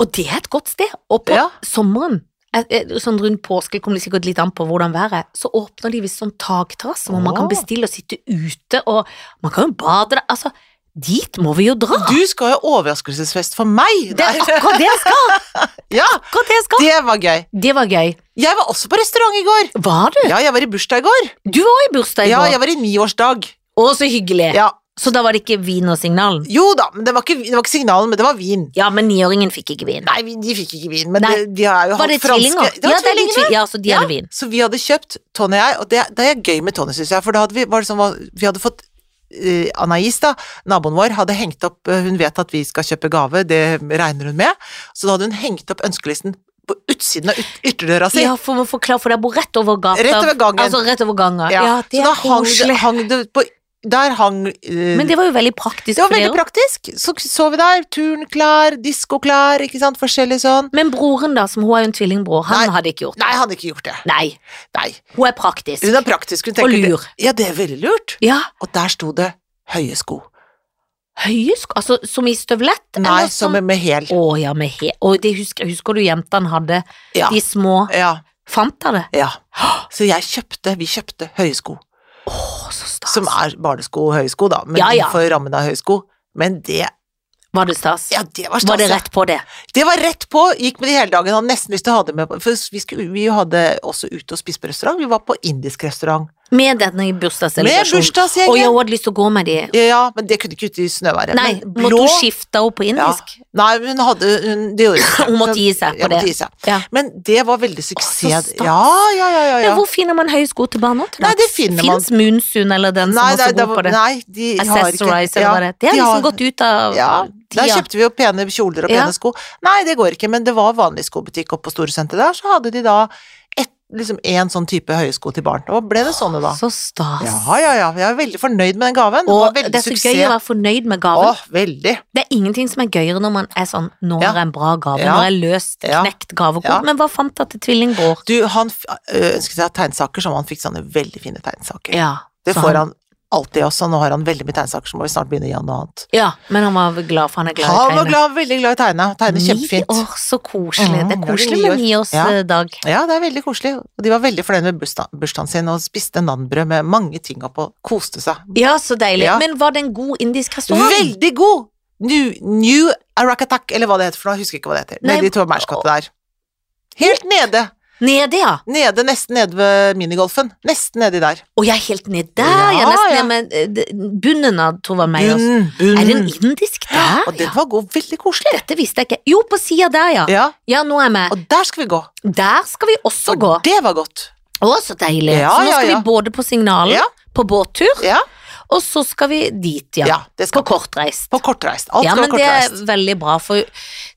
S1: Og det er et godt sted. Og på
S2: Ja.
S1: sommeren, eh, eh, sånn rundt påske, kommer det sikkert litt an på hvordan været er, så åpner de visst sånn takterrasse hvor man kan
S2: Åh.
S1: bestille og sitte ute, og man kan jo bade der. Altså, dit må vi jo dra!
S2: Du skal jo overraskelsesfest for meg!
S1: Det er akkurat det jeg skal!
S2: Ja,
S1: Akkurat det jeg skal!
S2: det var gøy.
S1: Det var gøy.
S2: Jeg var også på restaurant i går.
S1: Var du?
S2: Ja, jeg var i bursdag i går.
S1: Du var også i bursdag i
S2: Ja,
S1: går.
S2: jeg var i niårsdag.
S1: Å, så hyggelig.
S2: Ja.
S1: Så da var det ikke vin og signalen?
S2: Jo da, men det var, ikke, det var ikke signalen, men det var vin.
S1: Ja, men niåringen fikk ikke vin.
S2: Nei, vi- de fikk ikke vin, men
S1: Nei.
S2: de, de har jo
S1: Var det
S2: hatt franske
S1: tvillinger?
S2: Det var
S1: ja, det er litt
S2: tvillinger.
S1: tvil- ja, så de hadde vin.
S2: Så vi hadde kjøpt, Tony og jeg, og det, det er gøy med Tony, syns jeg, for da hadde vi, var det sånn, hva- vi hadde fått eh, Anais, da, naboen vår, hadde hengt opp eh, Hun vet at vi skal kjøpe gave, det regner hun med, så da hadde hun hengt opp ønskelisten på utsiden av yt ytterdøra si.
S1: Ja, for å forklare, for det bor rett over gata.
S2: Rett over gangen.
S1: Altså rett over gangen. Ja, det
S2: så da
S1: er
S2: hang det,
S1: koselig.
S2: hang det på Der hang eh,
S1: Men det var jo veldig praktisk
S2: det var
S1: for
S2: veldig
S1: dere.
S2: praktisk. Så så vi der, turnklær, diskoklær, ikke sant, forskjellig sånn.
S1: Men broren da, som hun er jo en tvillingbror, han
S2: Nei.
S1: hadde ikke gjort det.
S2: Nei, han hadde ikke gjort det.
S1: Nei,
S2: Nei.
S1: hun er praktisk.
S2: Hun er praktisk, hun
S1: Og
S2: tenker det-
S1: lur.
S2: Ja, det er veldig lurt.
S1: Ja,
S2: Og der sto det høye sko.
S1: høye sko, altså som i støvlett?
S2: Nei,
S1: eller
S2: som med, med hæl.
S1: Å ja, med he... Å, det husker, husker du jentene hadde,
S2: Ja.
S1: de små
S2: Ja,
S1: Fanta det?
S2: ja. Så jeg kjøpte, vi kjøpte høye sko.
S1: Å, så stas.
S2: Som er barnesko og høye sko, da, men
S1: Altså. Ja, ja.
S2: innenfor rammen av høye sko. Men det
S1: Var det stas?
S2: Ja, det var stas.
S1: Var det
S2: ja.
S1: rett på det?
S2: Det var rett på, gikk med det hele dagen. Hadde nesten lyst til å ha det med på- For vi, skulle, vi hadde også ute og spist på restaurant. Vi var på indisk restaurant.
S1: Med denne
S2: Med
S1: bursdagsdelegasjonen? Å, jeg
S2: bursdagsgjengen.
S1: hadde lyst til å gå med de.
S2: Ja, men det kunne ikke ute i snøværet.
S1: Nei,
S2: men
S1: måtte hun skifte henne på
S2: ja.
S1: indisk?
S2: Nei, hun hadde hun, det gjorde hun. ikke.
S1: Hun måtte
S2: Så-
S1: gi seg på
S2: ja,
S1: det.
S2: måtte gi seg.
S1: Ja.
S2: Men det var veldig
S1: Å, så
S2: suksess.
S1: stas.
S2: Ja, ja, ja, ja,
S1: Men
S2: ja.
S1: hvor finner man høye sko til barn nå? til
S2: Nei,
S1: dags?
S2: det finner man.
S1: Finnes Munsun eller den som
S2: Nei,
S1: var så
S2: det
S1: god på
S2: var-
S1: det?
S2: nei, de har ikke
S1: Accessorize eller
S2: ja,
S1: hva det er. Det har
S2: de
S1: liksom
S2: har-
S1: gått ut av
S2: Ja, der
S1: tida.
S2: kjøpte vi jo pene kjoler og
S1: Ja.
S2: pene sko. Nei, det går ikke, men det var vanlig skobutikk oppe på Storesenteret der, så hadde de da ett, liksom én sånn type høye sko til barn. Og ble det sånne da.
S1: Så stas.
S2: Ja, ja, ja. Jeg er veldig fornøyd med den gaven. Det var
S1: Og
S2: veldig
S1: det er så
S2: suksess.
S1: gøy å være fornøyd med
S2: Å,
S1: gaven.
S2: veldig.
S1: Det er ingenting som er gøyere når man er sånn Nå
S2: Ja.
S1: har jeg en bra gave,
S2: Ja.
S1: nå har jeg løst,
S2: Ja.
S1: knekt gavekort.
S2: Ja.
S1: Men hva fant jeg til tvillingbror?
S2: Du, han f- ø, ønsket seg tegnsaker, som han fikk sånne veldig fine tegnsaker.
S1: Ja.
S2: Det
S1: så
S2: får han alltid også, og nå har han veldig mye tegnsaker, så må vi snart begynne å gjøre noe annet.
S1: Ja, men han var glad, for han er glad i
S2: Han var
S1: tegne.
S2: glad, veldig glad i tegne. Tegne kjempefint.
S1: Ni år, så koselig.
S2: Mhm,
S1: Det er
S2: det er
S1: koselig
S2: ni år.
S1: med eh, niårsdag.
S2: Ja, det er veldig koselig. Og de var veldig fornøyd med bursda- bursdagen sin, og spiste nanbrød med mange ting oppå. Koste seg.
S1: Ja, så deilig.
S2: Ja.
S1: Men var det en god indisk restaurant?
S2: Veldig god! New, new Arakatak, eller hva det heter for noe, jeg husker ikke hva det heter.
S1: Nei,
S2: Nede i Torbergsgata der. Helt nede.
S1: Nede, ja.
S2: Nede, nesten nede ved minigolfen. Nesten nedi der.
S1: Å, jeg er helt ned der, jeg er
S2: Ja,
S1: nesten
S2: ja.
S1: ned med eh, d- bunnen av Tova Meyers.
S2: Bunn, bunn.
S1: Er det en indisk der?
S2: Og den
S1: Ja,
S2: var god. Veldig koselig.
S1: Dette visste jeg ikke. Jo, på sida der, ja.
S2: Ja,
S1: Ja, nå er jeg med.
S2: og der skal vi gå.
S1: Der skal vi også
S2: Og
S1: gå.
S2: det var godt.
S1: Å, så deilig.
S2: Ja,
S1: så nå
S2: ja,
S1: skal
S2: ja.
S1: vi både på Signalen,
S2: Ja.
S1: på båttur,
S2: Ja.
S1: og så skal vi dit, ja.
S2: Ja,
S1: På
S2: det skal
S1: kortreist.
S2: på kortreist. Alt
S1: ja,
S2: skal
S1: men
S2: være
S1: det er
S2: kortreist.
S1: veldig bra, for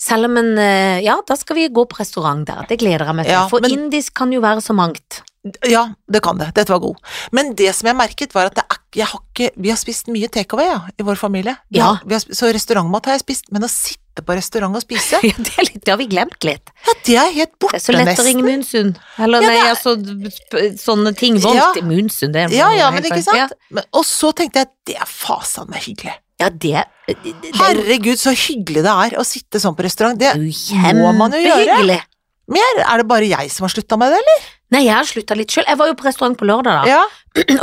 S1: selv om en eh, Ja, da skal vi gå på restaurant der, det gleder jeg meg til.
S2: Ja,
S1: for
S2: men-
S1: indisk kan jo være så mangt. (laughs)
S2: Ja, det kan det. Dette var god. Men det som jeg merket, var at det er, jeg har ikke Vi har spist mye takeaway, ja, i vår familie. Vi
S1: Ja.
S2: har, vi har, sp- så restaurantmat har jeg spist, men å sitte på restaurant
S1: (laughs)
S2: og spise,
S1: Ja, det, er litt, det har vi glemt litt.
S2: ja, det er helt borte,
S1: Det er så lett å ringe Munnsund. Eller
S2: Ja,
S1: nei, altså sp- sånne ting. Volt
S2: Ja.
S1: i Munnsund, det er
S2: Ja, ja,
S1: helt
S2: men det er
S1: feil.
S2: ikke sant? Men, og så tenkte jeg, det er fasan meg hyggelig.
S1: Ja, ja det, det, det, det er
S2: Herregud, så hyggelig det er å sitte sånn på restaurant. Det,
S1: jo
S2: må man jo gjøre.
S1: kjempehyggelig.
S2: mer, er det bare jeg som har slutta med det, eller?
S1: Nei, jeg har slutta litt sjøl. Jeg var jo på restaurant på lørdag, da.
S2: Ja.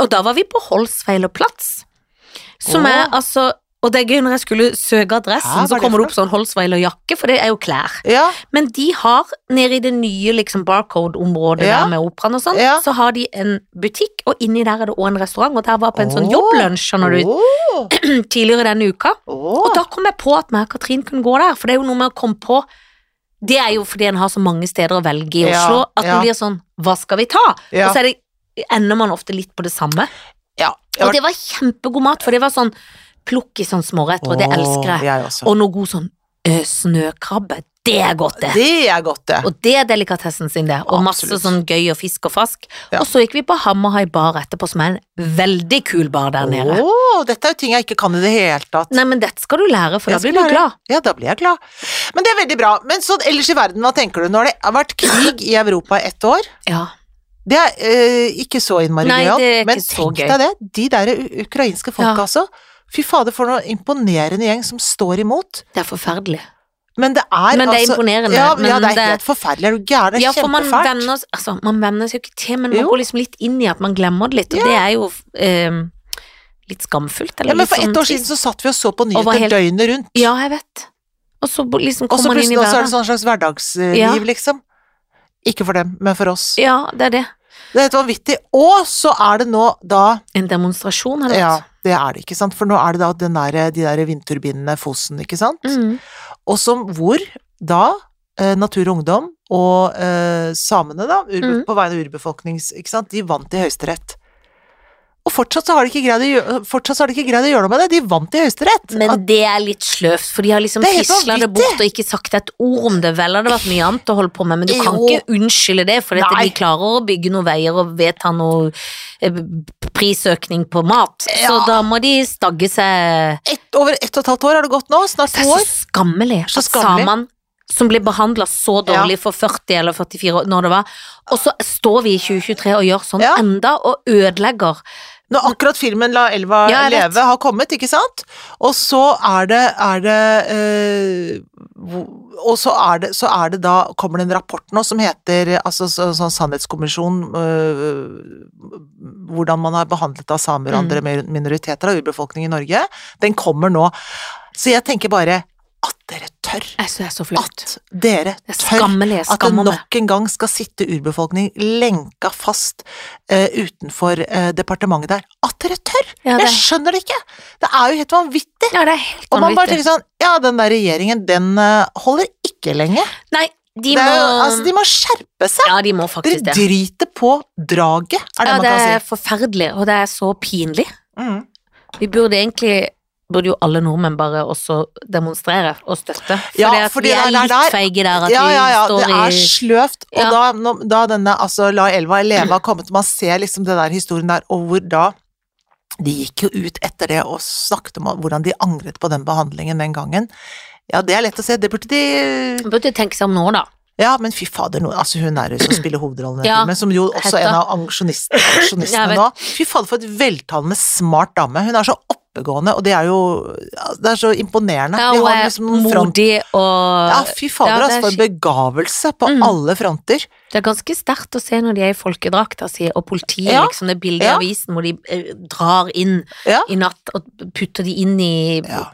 S1: Og da var vi på Holsveiler plass. Som
S2: Åh.
S1: er altså Og det er gøy når jeg skulle søke adressen,
S2: Ja, hva
S1: så
S2: er det
S1: kommer det
S2: for
S1: opp sånn Holsveiler jakke, for det er jo klær.
S2: ja.
S1: Men de har, nede i det nye liksom barcode-området
S2: Ja.
S1: der med operaen og sånn,
S2: Ja.
S1: så har de en butikk, og inni der er det òg en restaurant, og der var jeg på en sånn
S2: Åh.
S1: jobblunsj skjønner du,
S2: Åh,
S1: tidligere denne uka.
S2: åh.
S1: Og da kom jeg på at meg og Katrin kunne gå der, for det er jo noe med å komme på Det er jo fordi en har så mange steder å velge i
S2: Ja,
S1: Oslo, at en
S2: ja.
S1: blir sånn Hva skal vi ta?
S2: Ja.
S1: Og så er det, ender man ofte litt på det samme.
S2: ja.
S1: Og det var kjempegod mat, for det var sånn plukk i sånn småretter, og det elsker jeg.
S2: Jeg også.
S1: Og noe god sånn eh, snøkrabbe. Det er godt, det.
S2: Det er godt, det.
S1: Og det er delikatessen sin, det. Og masse
S2: Absolutt.
S1: sånn gøy og fisk og fask.
S2: Ja.
S1: Og så gikk vi på Hammerhai bar etterpå, som er en veldig kul bar der nede.
S2: Åh, dette er jo ting jeg ikke kan i det hele tatt.
S1: Nei, men dette skal du lære, for
S2: Jeg
S1: da blir
S2: skal
S1: du
S2: lære.
S1: glad.
S2: Ja, da blir jeg glad. Men det er veldig bra. Men sånn ellers i verden, hva tenker du? Nå har det vært krig i Europa i ett år.
S1: Ja.
S2: Det er eh, ikke så innmari
S1: Nei,
S2: gøyalt,
S1: det er ikke
S2: men
S1: så
S2: tenk
S1: gøy.
S2: deg det. De der u- ukrainske folka,
S1: Ja.
S2: altså. Fy fader, for noen imponerende gjeng som står imot.
S1: Det er forferdelig.
S2: Men det er
S1: Men det er
S2: altså
S1: imponerende,
S2: Ja,
S1: men
S2: ja det er
S1: det-
S2: helt forferdelig. Er du gæren? Det er
S1: Ja, for man
S2: kjempefælt.
S1: venner, s- altså, man venner seg jo ikke til, men man
S2: Jo.
S1: går liksom litt inn i at man glemmer det litt, og det er jo eh, litt skamfullt. Eller
S2: Ja, men
S1: litt
S2: for
S1: sånn
S2: ett år
S1: trist.
S2: siden så satt vi og så på
S1: Og var
S2: nyheter
S1: helt-
S2: døgnet rundt.
S1: Ja, jeg vet. Og så bo- liksom
S2: Og så
S1: kommer man inn i
S2: plutselig også er
S1: verden.
S2: det sånn slags hverdagsliv,
S1: Ja.
S2: liksom. Ikke for dem, men for oss.
S1: Ja, det er det.
S2: Det er helt vanvittig. Og så er det nå da
S1: En demonstrasjon, har det
S2: Ja,
S1: vært.
S2: det er det, ikke sant. For nå er det da den der, de der vindturbinene Fosen, ikke sant.
S1: Mm.
S2: Og som hvor da eh, Natur og Ungdom og eh, samene, da,
S1: Mm.
S2: urbe, på vegne av urbefolknings... Ikke sant, de vant i Høyesterett. Og fortsatt så har de ikke greid å gjøre, fortsatt så har de ikke greid å gjøre noe med det. De vant i Høyesterett. At-
S1: Men det er litt sløvt, for de har liksom
S2: Det er helt
S1: fisla det
S2: vanvittig.
S1: bort og ikke sagt et ord om det. Vel hadde det vært mye annet å holde på med, men du kan
S2: Jo.
S1: ikke unnskylde det, for dette,
S2: Nei.
S1: de klarer å bygge noen veier og vedta noe eh, prisøkning på mat. Så
S2: Ja.
S1: da må de stagge seg
S2: ett, over ett og et halvt år har det gått nå. Snart
S1: Det
S2: to
S1: er så
S2: år.
S1: skammelig
S2: Så
S1: at
S2: skammelig.
S1: samene som ble behandla så dårlig for 40 eller 44 år, når det var, og så står vi i 2023 og gjør sånn
S2: Ja.
S1: enda, og ødelegger.
S2: Når akkurat filmen La elva
S1: Ja, jeg vet.
S2: leve har kommet, ikke sant? Og så er det, er det eh, hvor- Og så er det, så er det da Kommer det en rapport nå som heter eh, altså, så, sånn sannhetskommisjon eh, Hvordan man har behandlet av samer og
S1: Mm.
S2: andre mer- minoriteter av urbefolkningen i Norge. Den kommer nå. Så jeg tenker bare at dere tør.
S1: Jeg synes det er så flaut.
S2: At dere
S1: Det er
S2: tør
S1: skammelig. Jeg
S2: at det
S1: skammer meg.
S2: nok en gang skal sitte urbefolkning lenka fast eh, utenfor eh, departementet der. At dere tør!
S1: Ja, det,
S2: Jeg skjønner det ikke! Det er jo helt vanvittig!
S1: ja, det er helt
S2: Og man bare
S1: vanvittig.
S2: tenker sånn Ja, den der regjeringen, den eh, holder ikke lenge.
S1: Nei, de
S2: det
S1: må
S2: er jo, altså, de må skjerpe seg!
S1: Ja, de må faktisk det.
S2: Dere driter på draget, er det
S1: Ja,
S2: man
S1: det er
S2: kan si.
S1: forferdelig, og det er så pinlig.
S2: Mm.
S1: Vi burde egentlig Burde jo alle nordmenn bare også demonstrere og støtte. For
S2: Ja,
S1: det at
S2: fordi
S1: vi er
S2: det er
S1: litt
S2: der-
S1: feige der at
S2: Ja, ja, ja,
S1: vi
S2: det
S1: står
S2: er
S1: i
S2: sløvt. Og
S1: Ja.
S2: da, nå- da denne altså, La elva
S1: (clears throat)
S2: leve har kommet, man ser liksom den der historien der, og hvor da De gikk jo ut etter det og snakket om hvordan de angret på den behandlingen den gangen. Ja, det er lett å se, det burde de
S1: Burde tenke seg om nå, da.
S2: Ja, men fy fader, nå, altså hun er jo som spiller hovedrollen i den
S1: Ja,
S2: filmen, som jo også
S1: Hetta.
S2: er en av
S1: (clears throat)
S2: aksjonist- aksjonistene
S1: Jeg vet.
S2: nå. Fy fader, for et veltalende, smart dame. Hun er så oppegående, og det er jo Det er så imponerende.
S1: Ja,
S2: Vi
S1: hun
S2: har
S1: er
S2: liksom noen front-
S1: modig og
S2: ja, fy fader,
S1: Ja, det
S2: altså,
S1: er
S2: for en begavelse på
S1: Mm.
S2: alle fronter.
S1: Det er ganske sterkt å se når de er i folkedrakta si, og politiet,
S2: Ja.
S1: liksom, det bildet i
S2: Ja.
S1: avisen hvor de eh, drar inn
S2: Ja.
S1: i natt og putter de inn i
S2: Ja.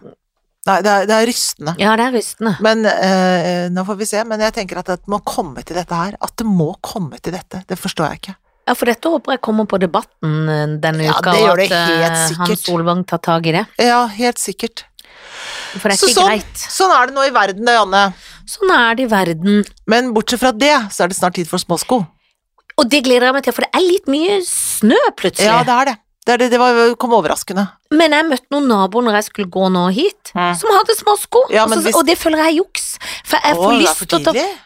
S2: Nei, det er, det er rystende.
S1: ja det er rystende.
S2: Men eh, nå får vi se. Men jeg tenker at det må komme til dette her. At det må komme til dette. Det forstår jeg ikke.
S1: Ja, for dette håper jeg kommer på debatten eh, denne
S2: Ja,
S1: uka,
S2: det gjør
S1: og at
S2: det
S1: eh,
S2: helt
S1: Hans
S2: sikkert.
S1: Solvang tar tak i det.
S2: Ja, helt sikkert.
S1: For det er
S2: Så
S1: ikke
S2: sånn.
S1: greit.
S2: Sånn er det nå i verden, det, Janne.
S1: Sånn er det i verden.
S2: Men bortsett fra det, så er det snart tid for småsko.
S1: Og det gleder jeg meg til, for det er litt mye snø plutselig.
S2: Ja, det er det. Det, er det, det var, kom overraskende.
S1: Men jeg møtte noen naboer når jeg skulle gå nå hit,
S2: Mm.
S1: som hadde små sko,
S2: Ja,
S1: og,
S2: men
S1: så,
S2: hvis-
S1: og det føler jeg er juks. For jeg får
S2: Å, det er
S1: lyst
S2: for
S1: til å ta
S2: tidlig.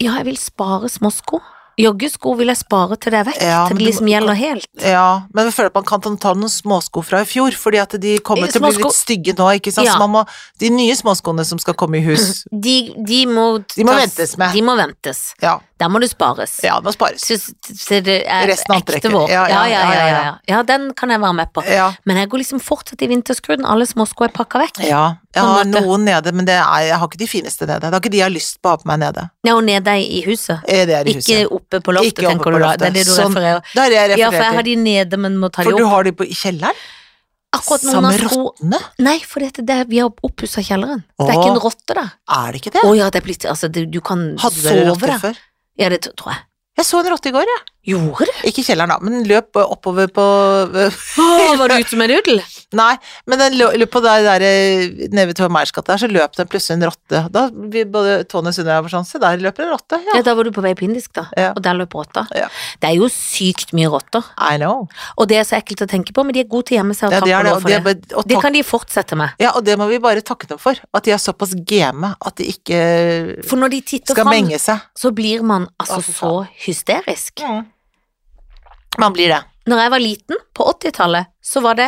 S1: Ja, jeg vil spare små sko. Joggesko vil jeg spare til det er vekk,
S2: Ja,
S1: til det
S2: men du
S1: liksom
S2: må-
S1: gjelder helt.
S2: Ja, men jeg føler at man kan ta noen småsko fra i fjor, fordi at de kommer til å bli
S1: Småsko-
S2: litt stygge nå, ikke sant.
S1: Eh, Ja.
S2: Så man må, de nye småskoene som skal komme i
S1: (clears throat)
S2: hus,
S1: De, de må
S2: De må
S1: tas-
S2: ventes med.
S1: De må ventes.
S2: ja,
S1: Der må du spares.
S2: ja det må spares.
S1: Så, så det er
S2: Resten av
S1: ekte
S2: antrekket.
S1: vår. Ja ja ja, ja, ja,
S2: ja.
S1: den kan jeg være med på.
S2: Ja.
S1: Men jeg går liksom fortsatt i vinterskruden. Alle småsko er pakka vekk.
S2: Ja,
S1: På en
S2: jeg har
S1: måte.
S2: noen nede, men det er, jeg har ikke de fineste nede. Det er ikke de jeg har lyst på å ha på meg nede.
S1: Ja, og nede i huset.
S2: Eh, Det er i
S1: Ikke
S2: huset.
S1: oppe på loftet,
S2: Ikke oppe
S1: tenker
S2: på
S1: du da.
S2: loftet.
S1: Det er det du
S2: Sånn.
S1: refererer.
S2: Da er det jeg
S1: Ja, for jeg
S2: refererer
S1: har de
S2: til.
S1: nede, men må ta de
S2: For du
S1: opp.
S2: har de på, i kjelleren?
S1: Akkurat noen
S2: Samme
S1: av sko
S2: rottene?
S1: Nei, for dette, det er, vi har oppussa kjelleren. Det er
S2: Åh.
S1: ikke en rotte der.
S2: Er det ikke det?
S1: Å ja, det er blitt Altså, du, du kan
S2: Hadde dere
S1: sove
S2: rotter
S1: der.
S2: før?
S1: Ja, det t- tror jeg.
S2: Jeg så en rotte i går, jeg.
S1: Gjorde du?
S2: Ikke i kjelleren, da, men den løp eh, oppover på (laughs)
S1: Åh, var du ute med nudel?
S2: Nei, men den lø- løp på der, der eh, nede ved Tove Meyers gate der, så løp det plutselig en rotte. Da vi både Tone Sundøy og jeg var sånn, se der løper en rotte.
S1: Ja.
S2: Ja.
S1: da var du på vei på indisk, da.
S2: Ja.
S1: Og der løp rotta.
S2: Ja.
S1: Det er jo sykt mye rotter.
S2: I know.
S1: Og det er så ekkelt å tenke på, men de er gode til å gjemme seg og
S2: Ja,
S1: takke
S2: det er det,
S1: lov
S2: og
S1: for
S2: det,
S1: det.
S2: er bare- og
S1: Det
S2: takk-
S1: kan de fortsette med.
S2: ja, og det må vi bare takke dem for. At de er såpass game at de ikke
S1: For når de titter
S2: skal
S1: fram,
S2: menge seg.
S1: så blir man altså
S2: Å, fy
S1: så hysterisk.
S2: Man blir det.
S1: Når jeg var liten, på 80-tallet, så var det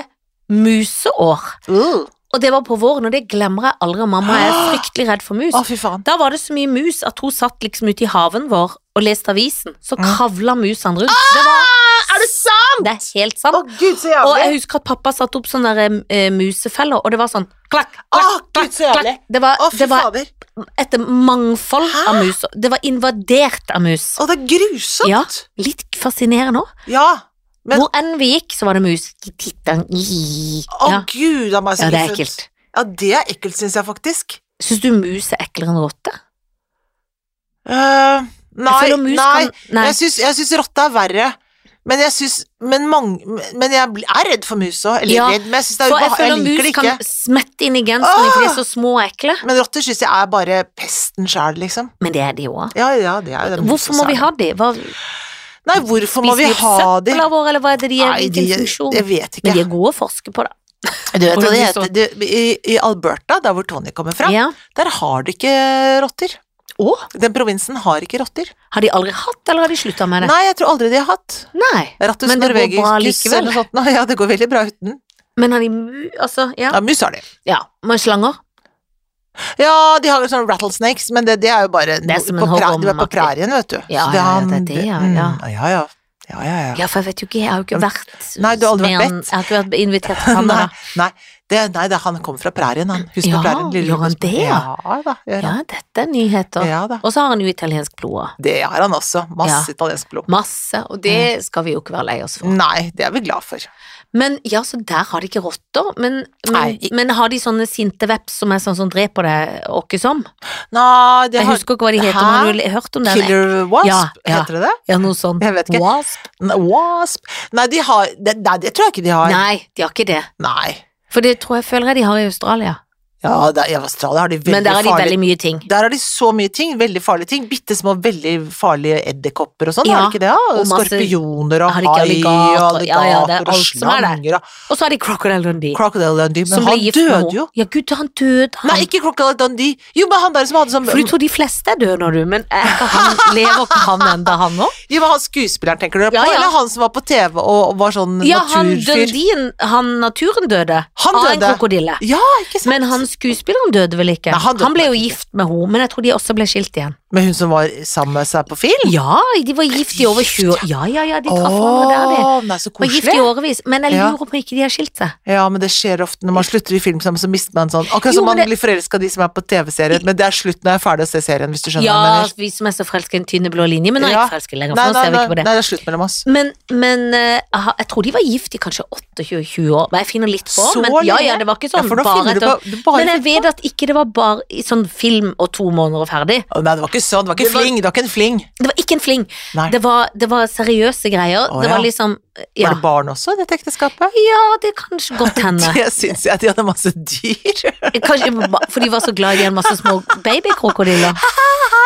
S1: museår.
S2: Uh.
S1: Og det var på våren, og det glemmer jeg aldri. og Mamma er fryktelig redd for mus.
S2: Å, fy faen.
S1: Da var det så mye mus at hun satt liksom ute i haven vår og leste avisen. Så
S2: Mm.
S1: kravla musene rundt. Det, var,
S2: Er det sant?!
S1: det er helt sant.
S2: Å, gud, så
S1: Og jeg
S2: jævlig!
S1: husker at pappa satte opp sånne der, eh, musefeller, og det var sånn klakk,
S2: Å,
S1: klakk, klakk.
S2: gud, så jævlig!
S1: klakk. Det var,
S2: Å, fy
S1: det var
S2: fader.
S1: et mangfold av mus. og Det var invadert av mus.
S2: Å, det er
S1: Ja.
S2: grusomt!
S1: Litt fascinerende òg.
S2: Ja. Men-
S1: Hvor enn vi gikk, så var det mus. Tittan, i-
S2: Å,
S1: Ja.
S2: gud, det er meg
S1: ja,
S2: så
S1: det er
S2: grusomt.
S1: ekkelt.
S2: Ja, det er ekkelt, syns jeg faktisk.
S1: Syns du mus er eklere enn rotte?
S2: Eh,
S1: Jeg
S2: nei,
S1: føler mus
S2: nei.
S1: kan- nei.
S2: Jeg syns, jeg syns rotte er verre. Men jeg syns Men, mange, men jeg blir- er redd for mus òg. Eller
S1: Ja,
S2: redd, men jeg syns det er
S1: For jeg
S2: ubehagelig. Jeg
S1: føler mus
S2: liker det
S1: kan
S2: ikke.
S1: smette inn i genseren, for de er så små og ekle.
S2: Men rotter syns jeg er bare pesten sjæl, liksom.
S1: Men det er de jo òg.
S2: Ja, ja, det er jo det.
S1: Hvorfor må vi ha de? Hva, spiser
S2: Nei, hvorfor må vi
S1: de
S2: ha de?
S1: søppel av vår, eller hva er det de er?
S2: Nei,
S1: Hvilken
S2: de-
S1: funksjon?
S2: Jeg vet
S1: Men de er
S2: ikke.
S1: gode å forske på, da.
S2: Du vet hva
S1: Hvordan
S2: det
S1: de
S2: heter Du, i, I Alberta, der hvor Tony kommer fra,
S1: Ja.
S2: der har de ikke rotter.
S1: Å,
S2: Den provinsen har ikke rotter.
S1: har de aldri hatt, eller har de slutta med det?
S2: Nei, jeg tror aldri de har hatt.
S1: Nei.
S2: Rattus
S1: Men det går bra
S2: norvegicus eller
S1: likevel.
S2: noe sånt. nå. Ja, det går veldig bra uten.
S1: Men har de mu... Altså, ja.
S2: Ja, mus har de.
S1: ja. Men slanger?
S2: Ja, de har sånne rattlesnakes, men det, det er jo bare
S1: Det er som en
S2: på, pra- de er på
S1: hoggormaktig.
S2: prærien, vet du.
S1: Ja, ja,
S2: Så
S1: ja, det er
S2: en-
S1: det, ja,
S2: mm,
S1: ja.
S2: ja, ja. Ja, ja, ja.
S1: Ja, for jeg vet jo ikke, jeg har jo ikke vært
S2: Nei, du har aldri vært
S1: med han-
S2: bedt.
S1: Jeg har ikke vært invitert
S2: (laughs)
S1: til han,
S2: Nei,
S1: da.
S2: nei, det, nei det, han kommer fra prærien, han. Husk
S1: Ja,
S2: på prærien. lille
S1: gjør han
S2: Lukas.
S1: det,
S2: Ja
S1: ja?
S2: da, gjør
S1: Ja,
S2: han.
S1: dette er nyheter.
S2: Ja da.
S1: Og så har han jo italiensk blod òg.
S2: Det har han også. Masse italiensk blod.
S1: Masse, og det
S2: Mm.
S1: skal vi jo ikke være lei oss for.
S2: Nei, det er vi glad for.
S1: Men ja, så der har de ikke rotter. Men, men,
S2: Nei, i-
S1: men har de sånne sinte veps som er sånn som dreper deg åkke som?
S2: Nei, det
S1: Jeg
S2: har
S1: husker ikke hva de heter,
S2: Hæ?
S1: men har du hørt om den?
S2: Killer wasp,
S1: Ja, ja.
S2: heter det det?
S1: Ja, noe sånt.
S2: Jeg vet ikke.
S1: Wasp?
S2: N- Wasp? Nei, de har det, Nei, det tror jeg ikke de har.
S1: Nei, de har ikke det.
S2: Nei.
S1: For det tror jeg føler jeg de har i Australia.
S2: Ja, der, i Australia har de veldig
S1: Men der har de
S2: farlige
S1: veldig mye ting.
S2: Der har de så mye ting, veldig farlige ting. Bitte små, veldig farlige edderkopper og sånn,
S1: Ja,
S2: har de ikke det? Ja?
S1: og masse-
S2: Skorpioner og
S1: Har de ikke
S2: hai og
S1: alligator? Ja, ja, det er
S2: alligator og
S1: alt som er der.
S2: slanger og
S1: Og så har de Crocodile Dundee,
S2: Crocodile Dundee.
S1: som
S2: Men
S1: ble
S2: han
S1: gift med
S2: døde
S1: henne.
S2: jo.
S1: Ja, gud, han døde, han.
S2: Nei, ikke Crocodile Dundee. Jo, men han der som hadde sånn
S1: For du tror de fleste er døde når du, men er ikke han,
S2: (laughs)
S1: lever ikke han enda, han nå?
S2: Jo, men han skuespilleren, tenker dere på?
S1: Ja, ja.
S2: Eller han som var på TV og, og var sånn
S1: Ja, han
S2: naturfyr?
S1: Dundee, han naturen døde.
S2: Han
S1: Av en
S2: døde.
S1: krokodille.
S2: Ja, ikke sant?
S1: Men han skuespilleren døde vel ikke?
S2: Nei,
S1: han,
S2: han døde
S1: ble jo
S2: nok ikke.
S1: gift med henne, men jeg tror de også ble skilt igjen.
S2: Med hun som var sammen med seg på film?
S1: Ja, de var gift i over 20 år. Ja, ja, ja, de traff hverandre der, de.
S2: Åh, nei, så
S1: Var gift i
S2: koselig.
S1: årevis, men jeg
S2: Ja.
S1: lurer på om ikke de har skilt seg.
S2: Ja, men det skjer ofte når man slutter i film sammen, så mister man sånn Akkurat
S1: Jo,
S2: som
S1: men
S2: man
S1: det-
S2: blir forelska i de som er på TV-serien, men det er slutt når jeg er ferdig å se serien, hvis du skjønner hva jeg
S1: Ja,
S2: mener.
S1: vi som er så forelska i den tynne blå linje, men nå er jeg
S2: Ja.
S1: ikke forelska lenger. For nå
S2: Nei, nei,
S1: ser vi
S2: nei,
S1: ikke på det.
S2: nei, det er slutt mellom oss.
S1: Men, men eh, jeg har- jeg tror de var gift i kanskje 28-20 år. Men jeg finner litt på.
S2: Så
S1: men, ja,
S2: lenge?
S1: ja, det var ikke
S2: Ja,
S1: sånn
S2: for da
S1: bare
S2: finner du
S1: et år.
S2: på- du bare
S1: Men jeg
S2: finner
S1: vet at ikke det var bare i sånn film og to måneder og ferdig.
S2: Å, Nei, det var ikke sånn, det var ikke
S1: Det var-
S2: fling, det var ikke en fling.
S1: Det var ikke en fling.
S2: Nei.
S1: Det var, det var seriøse greier.
S2: Å,
S1: det
S2: ja.
S1: var liksom ja.
S2: Var det barn også i dette ekteskapet?
S1: ja, det kan kanskje godt hende.
S2: Det syns (laughs) jeg, de hadde masse dyr.
S1: Kanskje, for de var så glad i de hadde masse små babykrokodiller.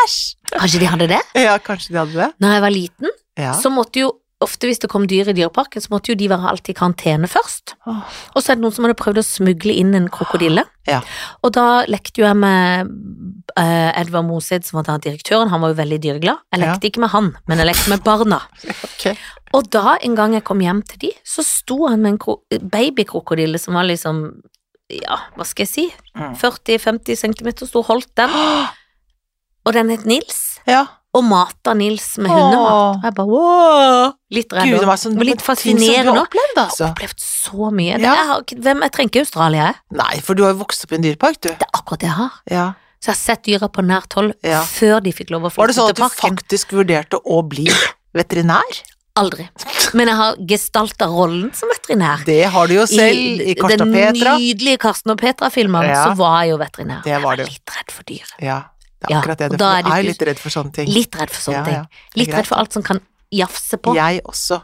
S2: Æsj!
S1: Kanskje de hadde det?
S2: Ja, kanskje de hadde det.
S1: Når jeg var liten,
S2: Ja.
S1: så måtte jo ofte hvis det kom dyr i dyreparken, så måtte jo de være alltid i karantene først.
S2: Åh.
S1: Og så er det noen som hadde prøvd å smugle inn en krokodille.
S2: Ja.
S1: Og da lekte jo jeg med eh, Edvard Mosed, som var da direktøren, han var jo veldig dyreglad. Jeg lekte ikke med han, men jeg lekte med barna.
S2: Ok.
S1: Og da, en gang jeg kom hjem til de, så sto han med en kro babykrokodille som var liksom, ja, hva skal jeg si,
S2: Mm.
S1: 40-50 centimeter stor, holdt den. Og den het Nils,
S2: Ja.
S1: og mata Nils med
S2: Åh.
S1: hundemat. Og jeg bare, wow, litt redd.
S2: Gud, det
S1: også.
S2: var sånn
S1: Men litt
S2: ting som du
S1: fascinerende også.
S2: har opplevd,
S1: Jeg har
S2: altså.
S1: opplevd så mye. Det,
S2: Ja.
S1: jeg, har, ikke- hvem, jeg trenger ikke Australia, jeg.
S2: Nei, for du har jo vokst opp i en dyrepark, du.
S1: Det er akkurat det jeg har.
S2: Ja.
S1: Så jeg har sett dyra på nært hold
S2: Ja.
S1: før de fikk lov å
S2: Var det
S1: flytte
S2: sånn at
S1: til
S2: du
S1: parken.
S2: faktisk vurderte å bli veterinær?
S1: Aldri. Men jeg har gestalta rollen som veterinær.
S2: Det har du jo selv i Karsta Petra.
S1: Den nydelige Karsten og Petra-filmen,
S2: Ja.
S1: så var jeg jo veterinær.
S2: Det var
S1: jeg var
S2: du.
S1: litt redd for dyr.
S2: Ja, det er
S1: Ja,
S2: akkurat det.
S1: og
S2: Du
S1: da er
S2: er
S1: det
S2: jo
S1: ikke-
S2: litt redd for sånne ting.
S1: Litt redd for sånne
S2: Ja, ja.
S1: ting. Litt
S2: greit.
S1: redd for alt som kan jafse på. Ja.
S2: Jeg også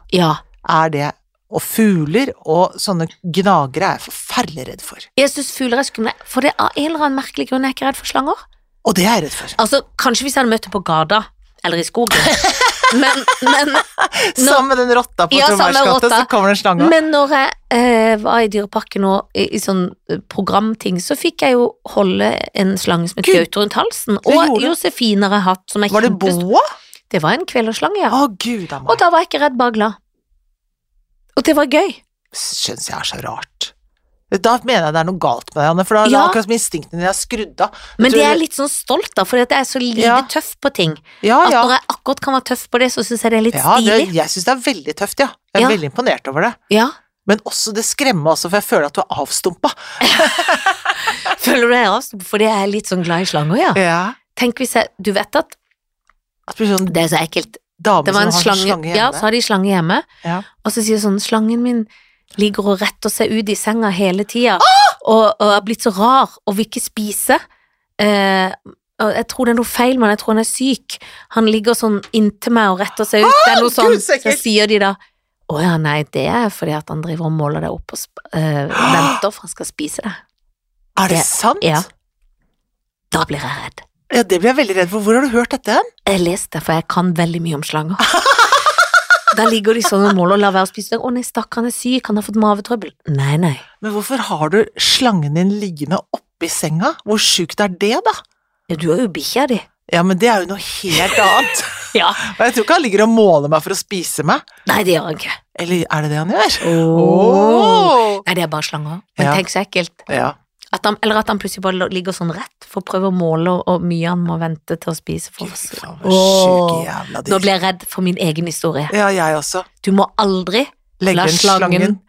S2: er det. Og fugler og sånne gnagere er jeg forferdelig redd for.
S1: Jeg syns fugler er skumle, for det er av en eller annen merkelig grunn jeg er ikke redd for slanger.
S2: Og det er jeg redd for.
S1: Altså, Kanskje hvis jeg hadde møtt det på gata, eller i
S2: (laughs)
S1: skogen. Men, men, Nå-
S2: Sammen med den rotta på
S1: Ja, sammen med
S2: Trondheimsgata, så
S1: rotta.
S2: kommer det en slange.
S1: men når jeg eh, var i Dyreparken og i, i sånn eh, programting, så fikk jeg jo holde en slange som et
S2: Gud.
S1: gaute rundt halsen.
S2: Det gjorde
S1: Og
S2: du.
S1: josefiner har jeg hatt, som er
S2: Var det
S1: kjempestor.
S2: boa?
S1: Det var en kvelersslange, ja.
S2: Å, gud a
S1: Og
S2: meg.
S1: da var jeg ikke redd, bare glad. Og det var gøy.
S2: Syns jeg er så rart. Da mener jeg det er noe galt med deg, Anne, for da er det
S1: Ja.
S2: akkurat som instinktene dine er skrudd av.
S1: Men
S2: Tror
S1: det er
S2: du-
S1: jeg litt sånn stolt av, for jeg er så lite
S2: Ja.
S1: tøff på ting.
S2: Ja,
S1: At
S2: ja.
S1: når jeg akkurat kan være tøff på det, så syns jeg det er litt
S2: ja det,
S1: stilig.
S2: jeg syns det er veldig tøft, ja. Jeg er
S1: Ja.
S2: veldig imponert over det.
S1: Ja. (laughs)
S2: Men også det skremmer også, for jeg føler at du er avstumpa.
S1: Føler du deg avstumpet fordi jeg er litt sånn glad i slanger, ja? Tenk hvis jeg Du vet at
S2: At det blir sånn
S1: Det er så ekkelt.
S2: dame
S1: Det var
S2: som
S1: en
S2: har
S1: slange,
S2: hjemme.
S1: Ja, så har de slange hjemme,
S2: Ja.
S1: og så sier sånn Slangen min ligger og retter seg ut i senga hele tida, og, og er blitt så rar og vil ikke spise. Eh, og jeg tror det er noe feil med han, jeg tror han er syk. Han ligger sånn inntil meg og retter seg ut. Det er noe sånn,
S2: Ah, Gud, så
S1: så
S2: ekkelt.
S1: sier de da å ja, nei, det er fordi at han driver og måler deg opp og sp eh, venter for han skal spise det.
S2: Er det
S1: Ja.
S2: sant?
S1: Ja. Da blir jeg redd.
S2: Ja, det blir jeg veldig redd for. Hvor har du hørt dette hen?
S1: Jeg leste, for jeg kan veldig mye om slanger. (laughs) Der ligger de sånn og måler og lar være å spise. Å nei, stakkar, han er syk, han har fått mavetrøbbel. Nei, nei.
S2: Men hvorfor har du slangen din liggende oppi senga? Hvor sjukt er det, da?
S1: Ja, du har jo bikkja di.
S2: Ja, men det er jo noe helt annet.
S1: (laughs) Ja.
S2: Og jeg tror ikke han ligger og måler meg for å spise meg.
S1: Nei, det gjør han ikke.
S2: Eller er det det han gjør? Åh.
S1: Nei, det er bare slanger. Men
S2: Ja.
S1: tenk så ekkelt.
S2: Ja.
S1: At han, eller at han plutselig bare ligger sånn rett for å prøve å måle hvor mye han må vente til å spise for oss.
S2: Fy faen,
S1: Åh.
S2: sjuke jævla
S1: Nå
S2: dyr.
S1: ble jeg redd for min egen historie.
S2: Ja, jeg også.
S1: Du må aldri la
S2: Legger den slangen
S1: slangen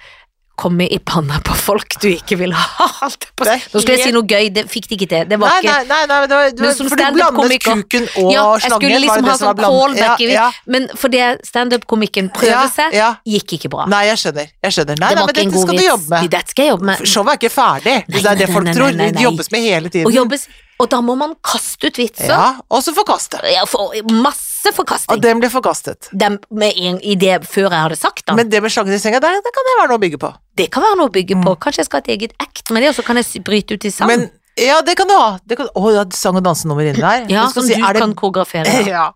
S1: komme i panna på folk du ikke vil ha. (laughs) Alt på.
S2: Det er
S1: Nå skulle jeg si noe gøy, det fikk de ikke til. Det var
S2: Nei,
S1: ikke
S2: nei, nei, nei, men det var, det
S1: Men
S2: var,
S1: som
S2: for du blandet
S1: standup-komiker-
S2: kuken og
S1: ja, jeg
S2: slangen.
S1: skulle
S2: var
S1: liksom
S2: det
S1: ha
S2: det som var
S1: sånn
S2: blandet?
S1: callback, i-
S2: ja,
S1: men fordi standup-komikeren
S2: ja, ja,
S1: prøver seg,
S2: ja.
S1: gikk ikke bra.
S2: Nei, jeg skjønner. Jeg skjønner. Nei,
S1: det
S2: nei,
S1: var
S2: men
S1: ikke en
S2: dette
S1: god
S2: skal du jobbe
S1: vits.
S2: med.
S1: Dette skal jeg jobbe med.
S2: Showet er ikke ferdig.
S1: Nei,
S2: det er det
S1: nei,
S2: folk
S1: nei,
S2: tror.
S1: nei, nei,
S2: Det
S1: nei.
S2: jobbes med hele tiden.
S1: Og, jobbes, og da må man kaste ut vitser.
S2: Ja, og så forkaste.
S1: Jeg får masse
S2: Og
S1: forkasting.
S2: den ble forkastet.
S1: Dem med en idé før jeg hadde sagt den.
S2: Men det med slangen i senga, der, det kan det være noe å bygge på.
S1: det kan være noe å bygge på. Kanskje jeg skal ha et eget act med det, og så kan jeg sy- bryte ut i sang.
S2: Mm. Men ja, det kan du ha. Det kan, å, du har sang- og dansenummer inne der.
S1: ja,
S2: Du skal
S1: som
S2: si,
S1: du
S2: er det,
S1: kan koreografere. (laughs) Ja.
S2: (laughs) ja.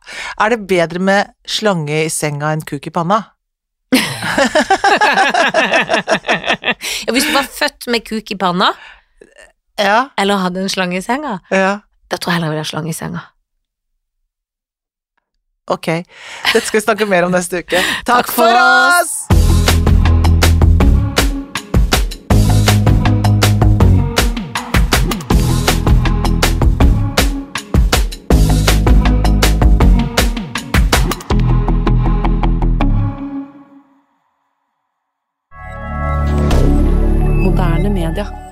S2: Er det bedre med slange i senga enn kuk i panna?
S1: Ja, hvis du var født med kuk i panna,
S2: Ja,
S1: eller hadde en slange i senga,
S2: ja.
S1: da tror jeg heller jeg vil ha slange i senga.
S2: Ok. Dette skal vi snakke mer om neste uke.
S1: Takk
S2: Takk
S1: for
S2: for oss!
S3: Moderne media.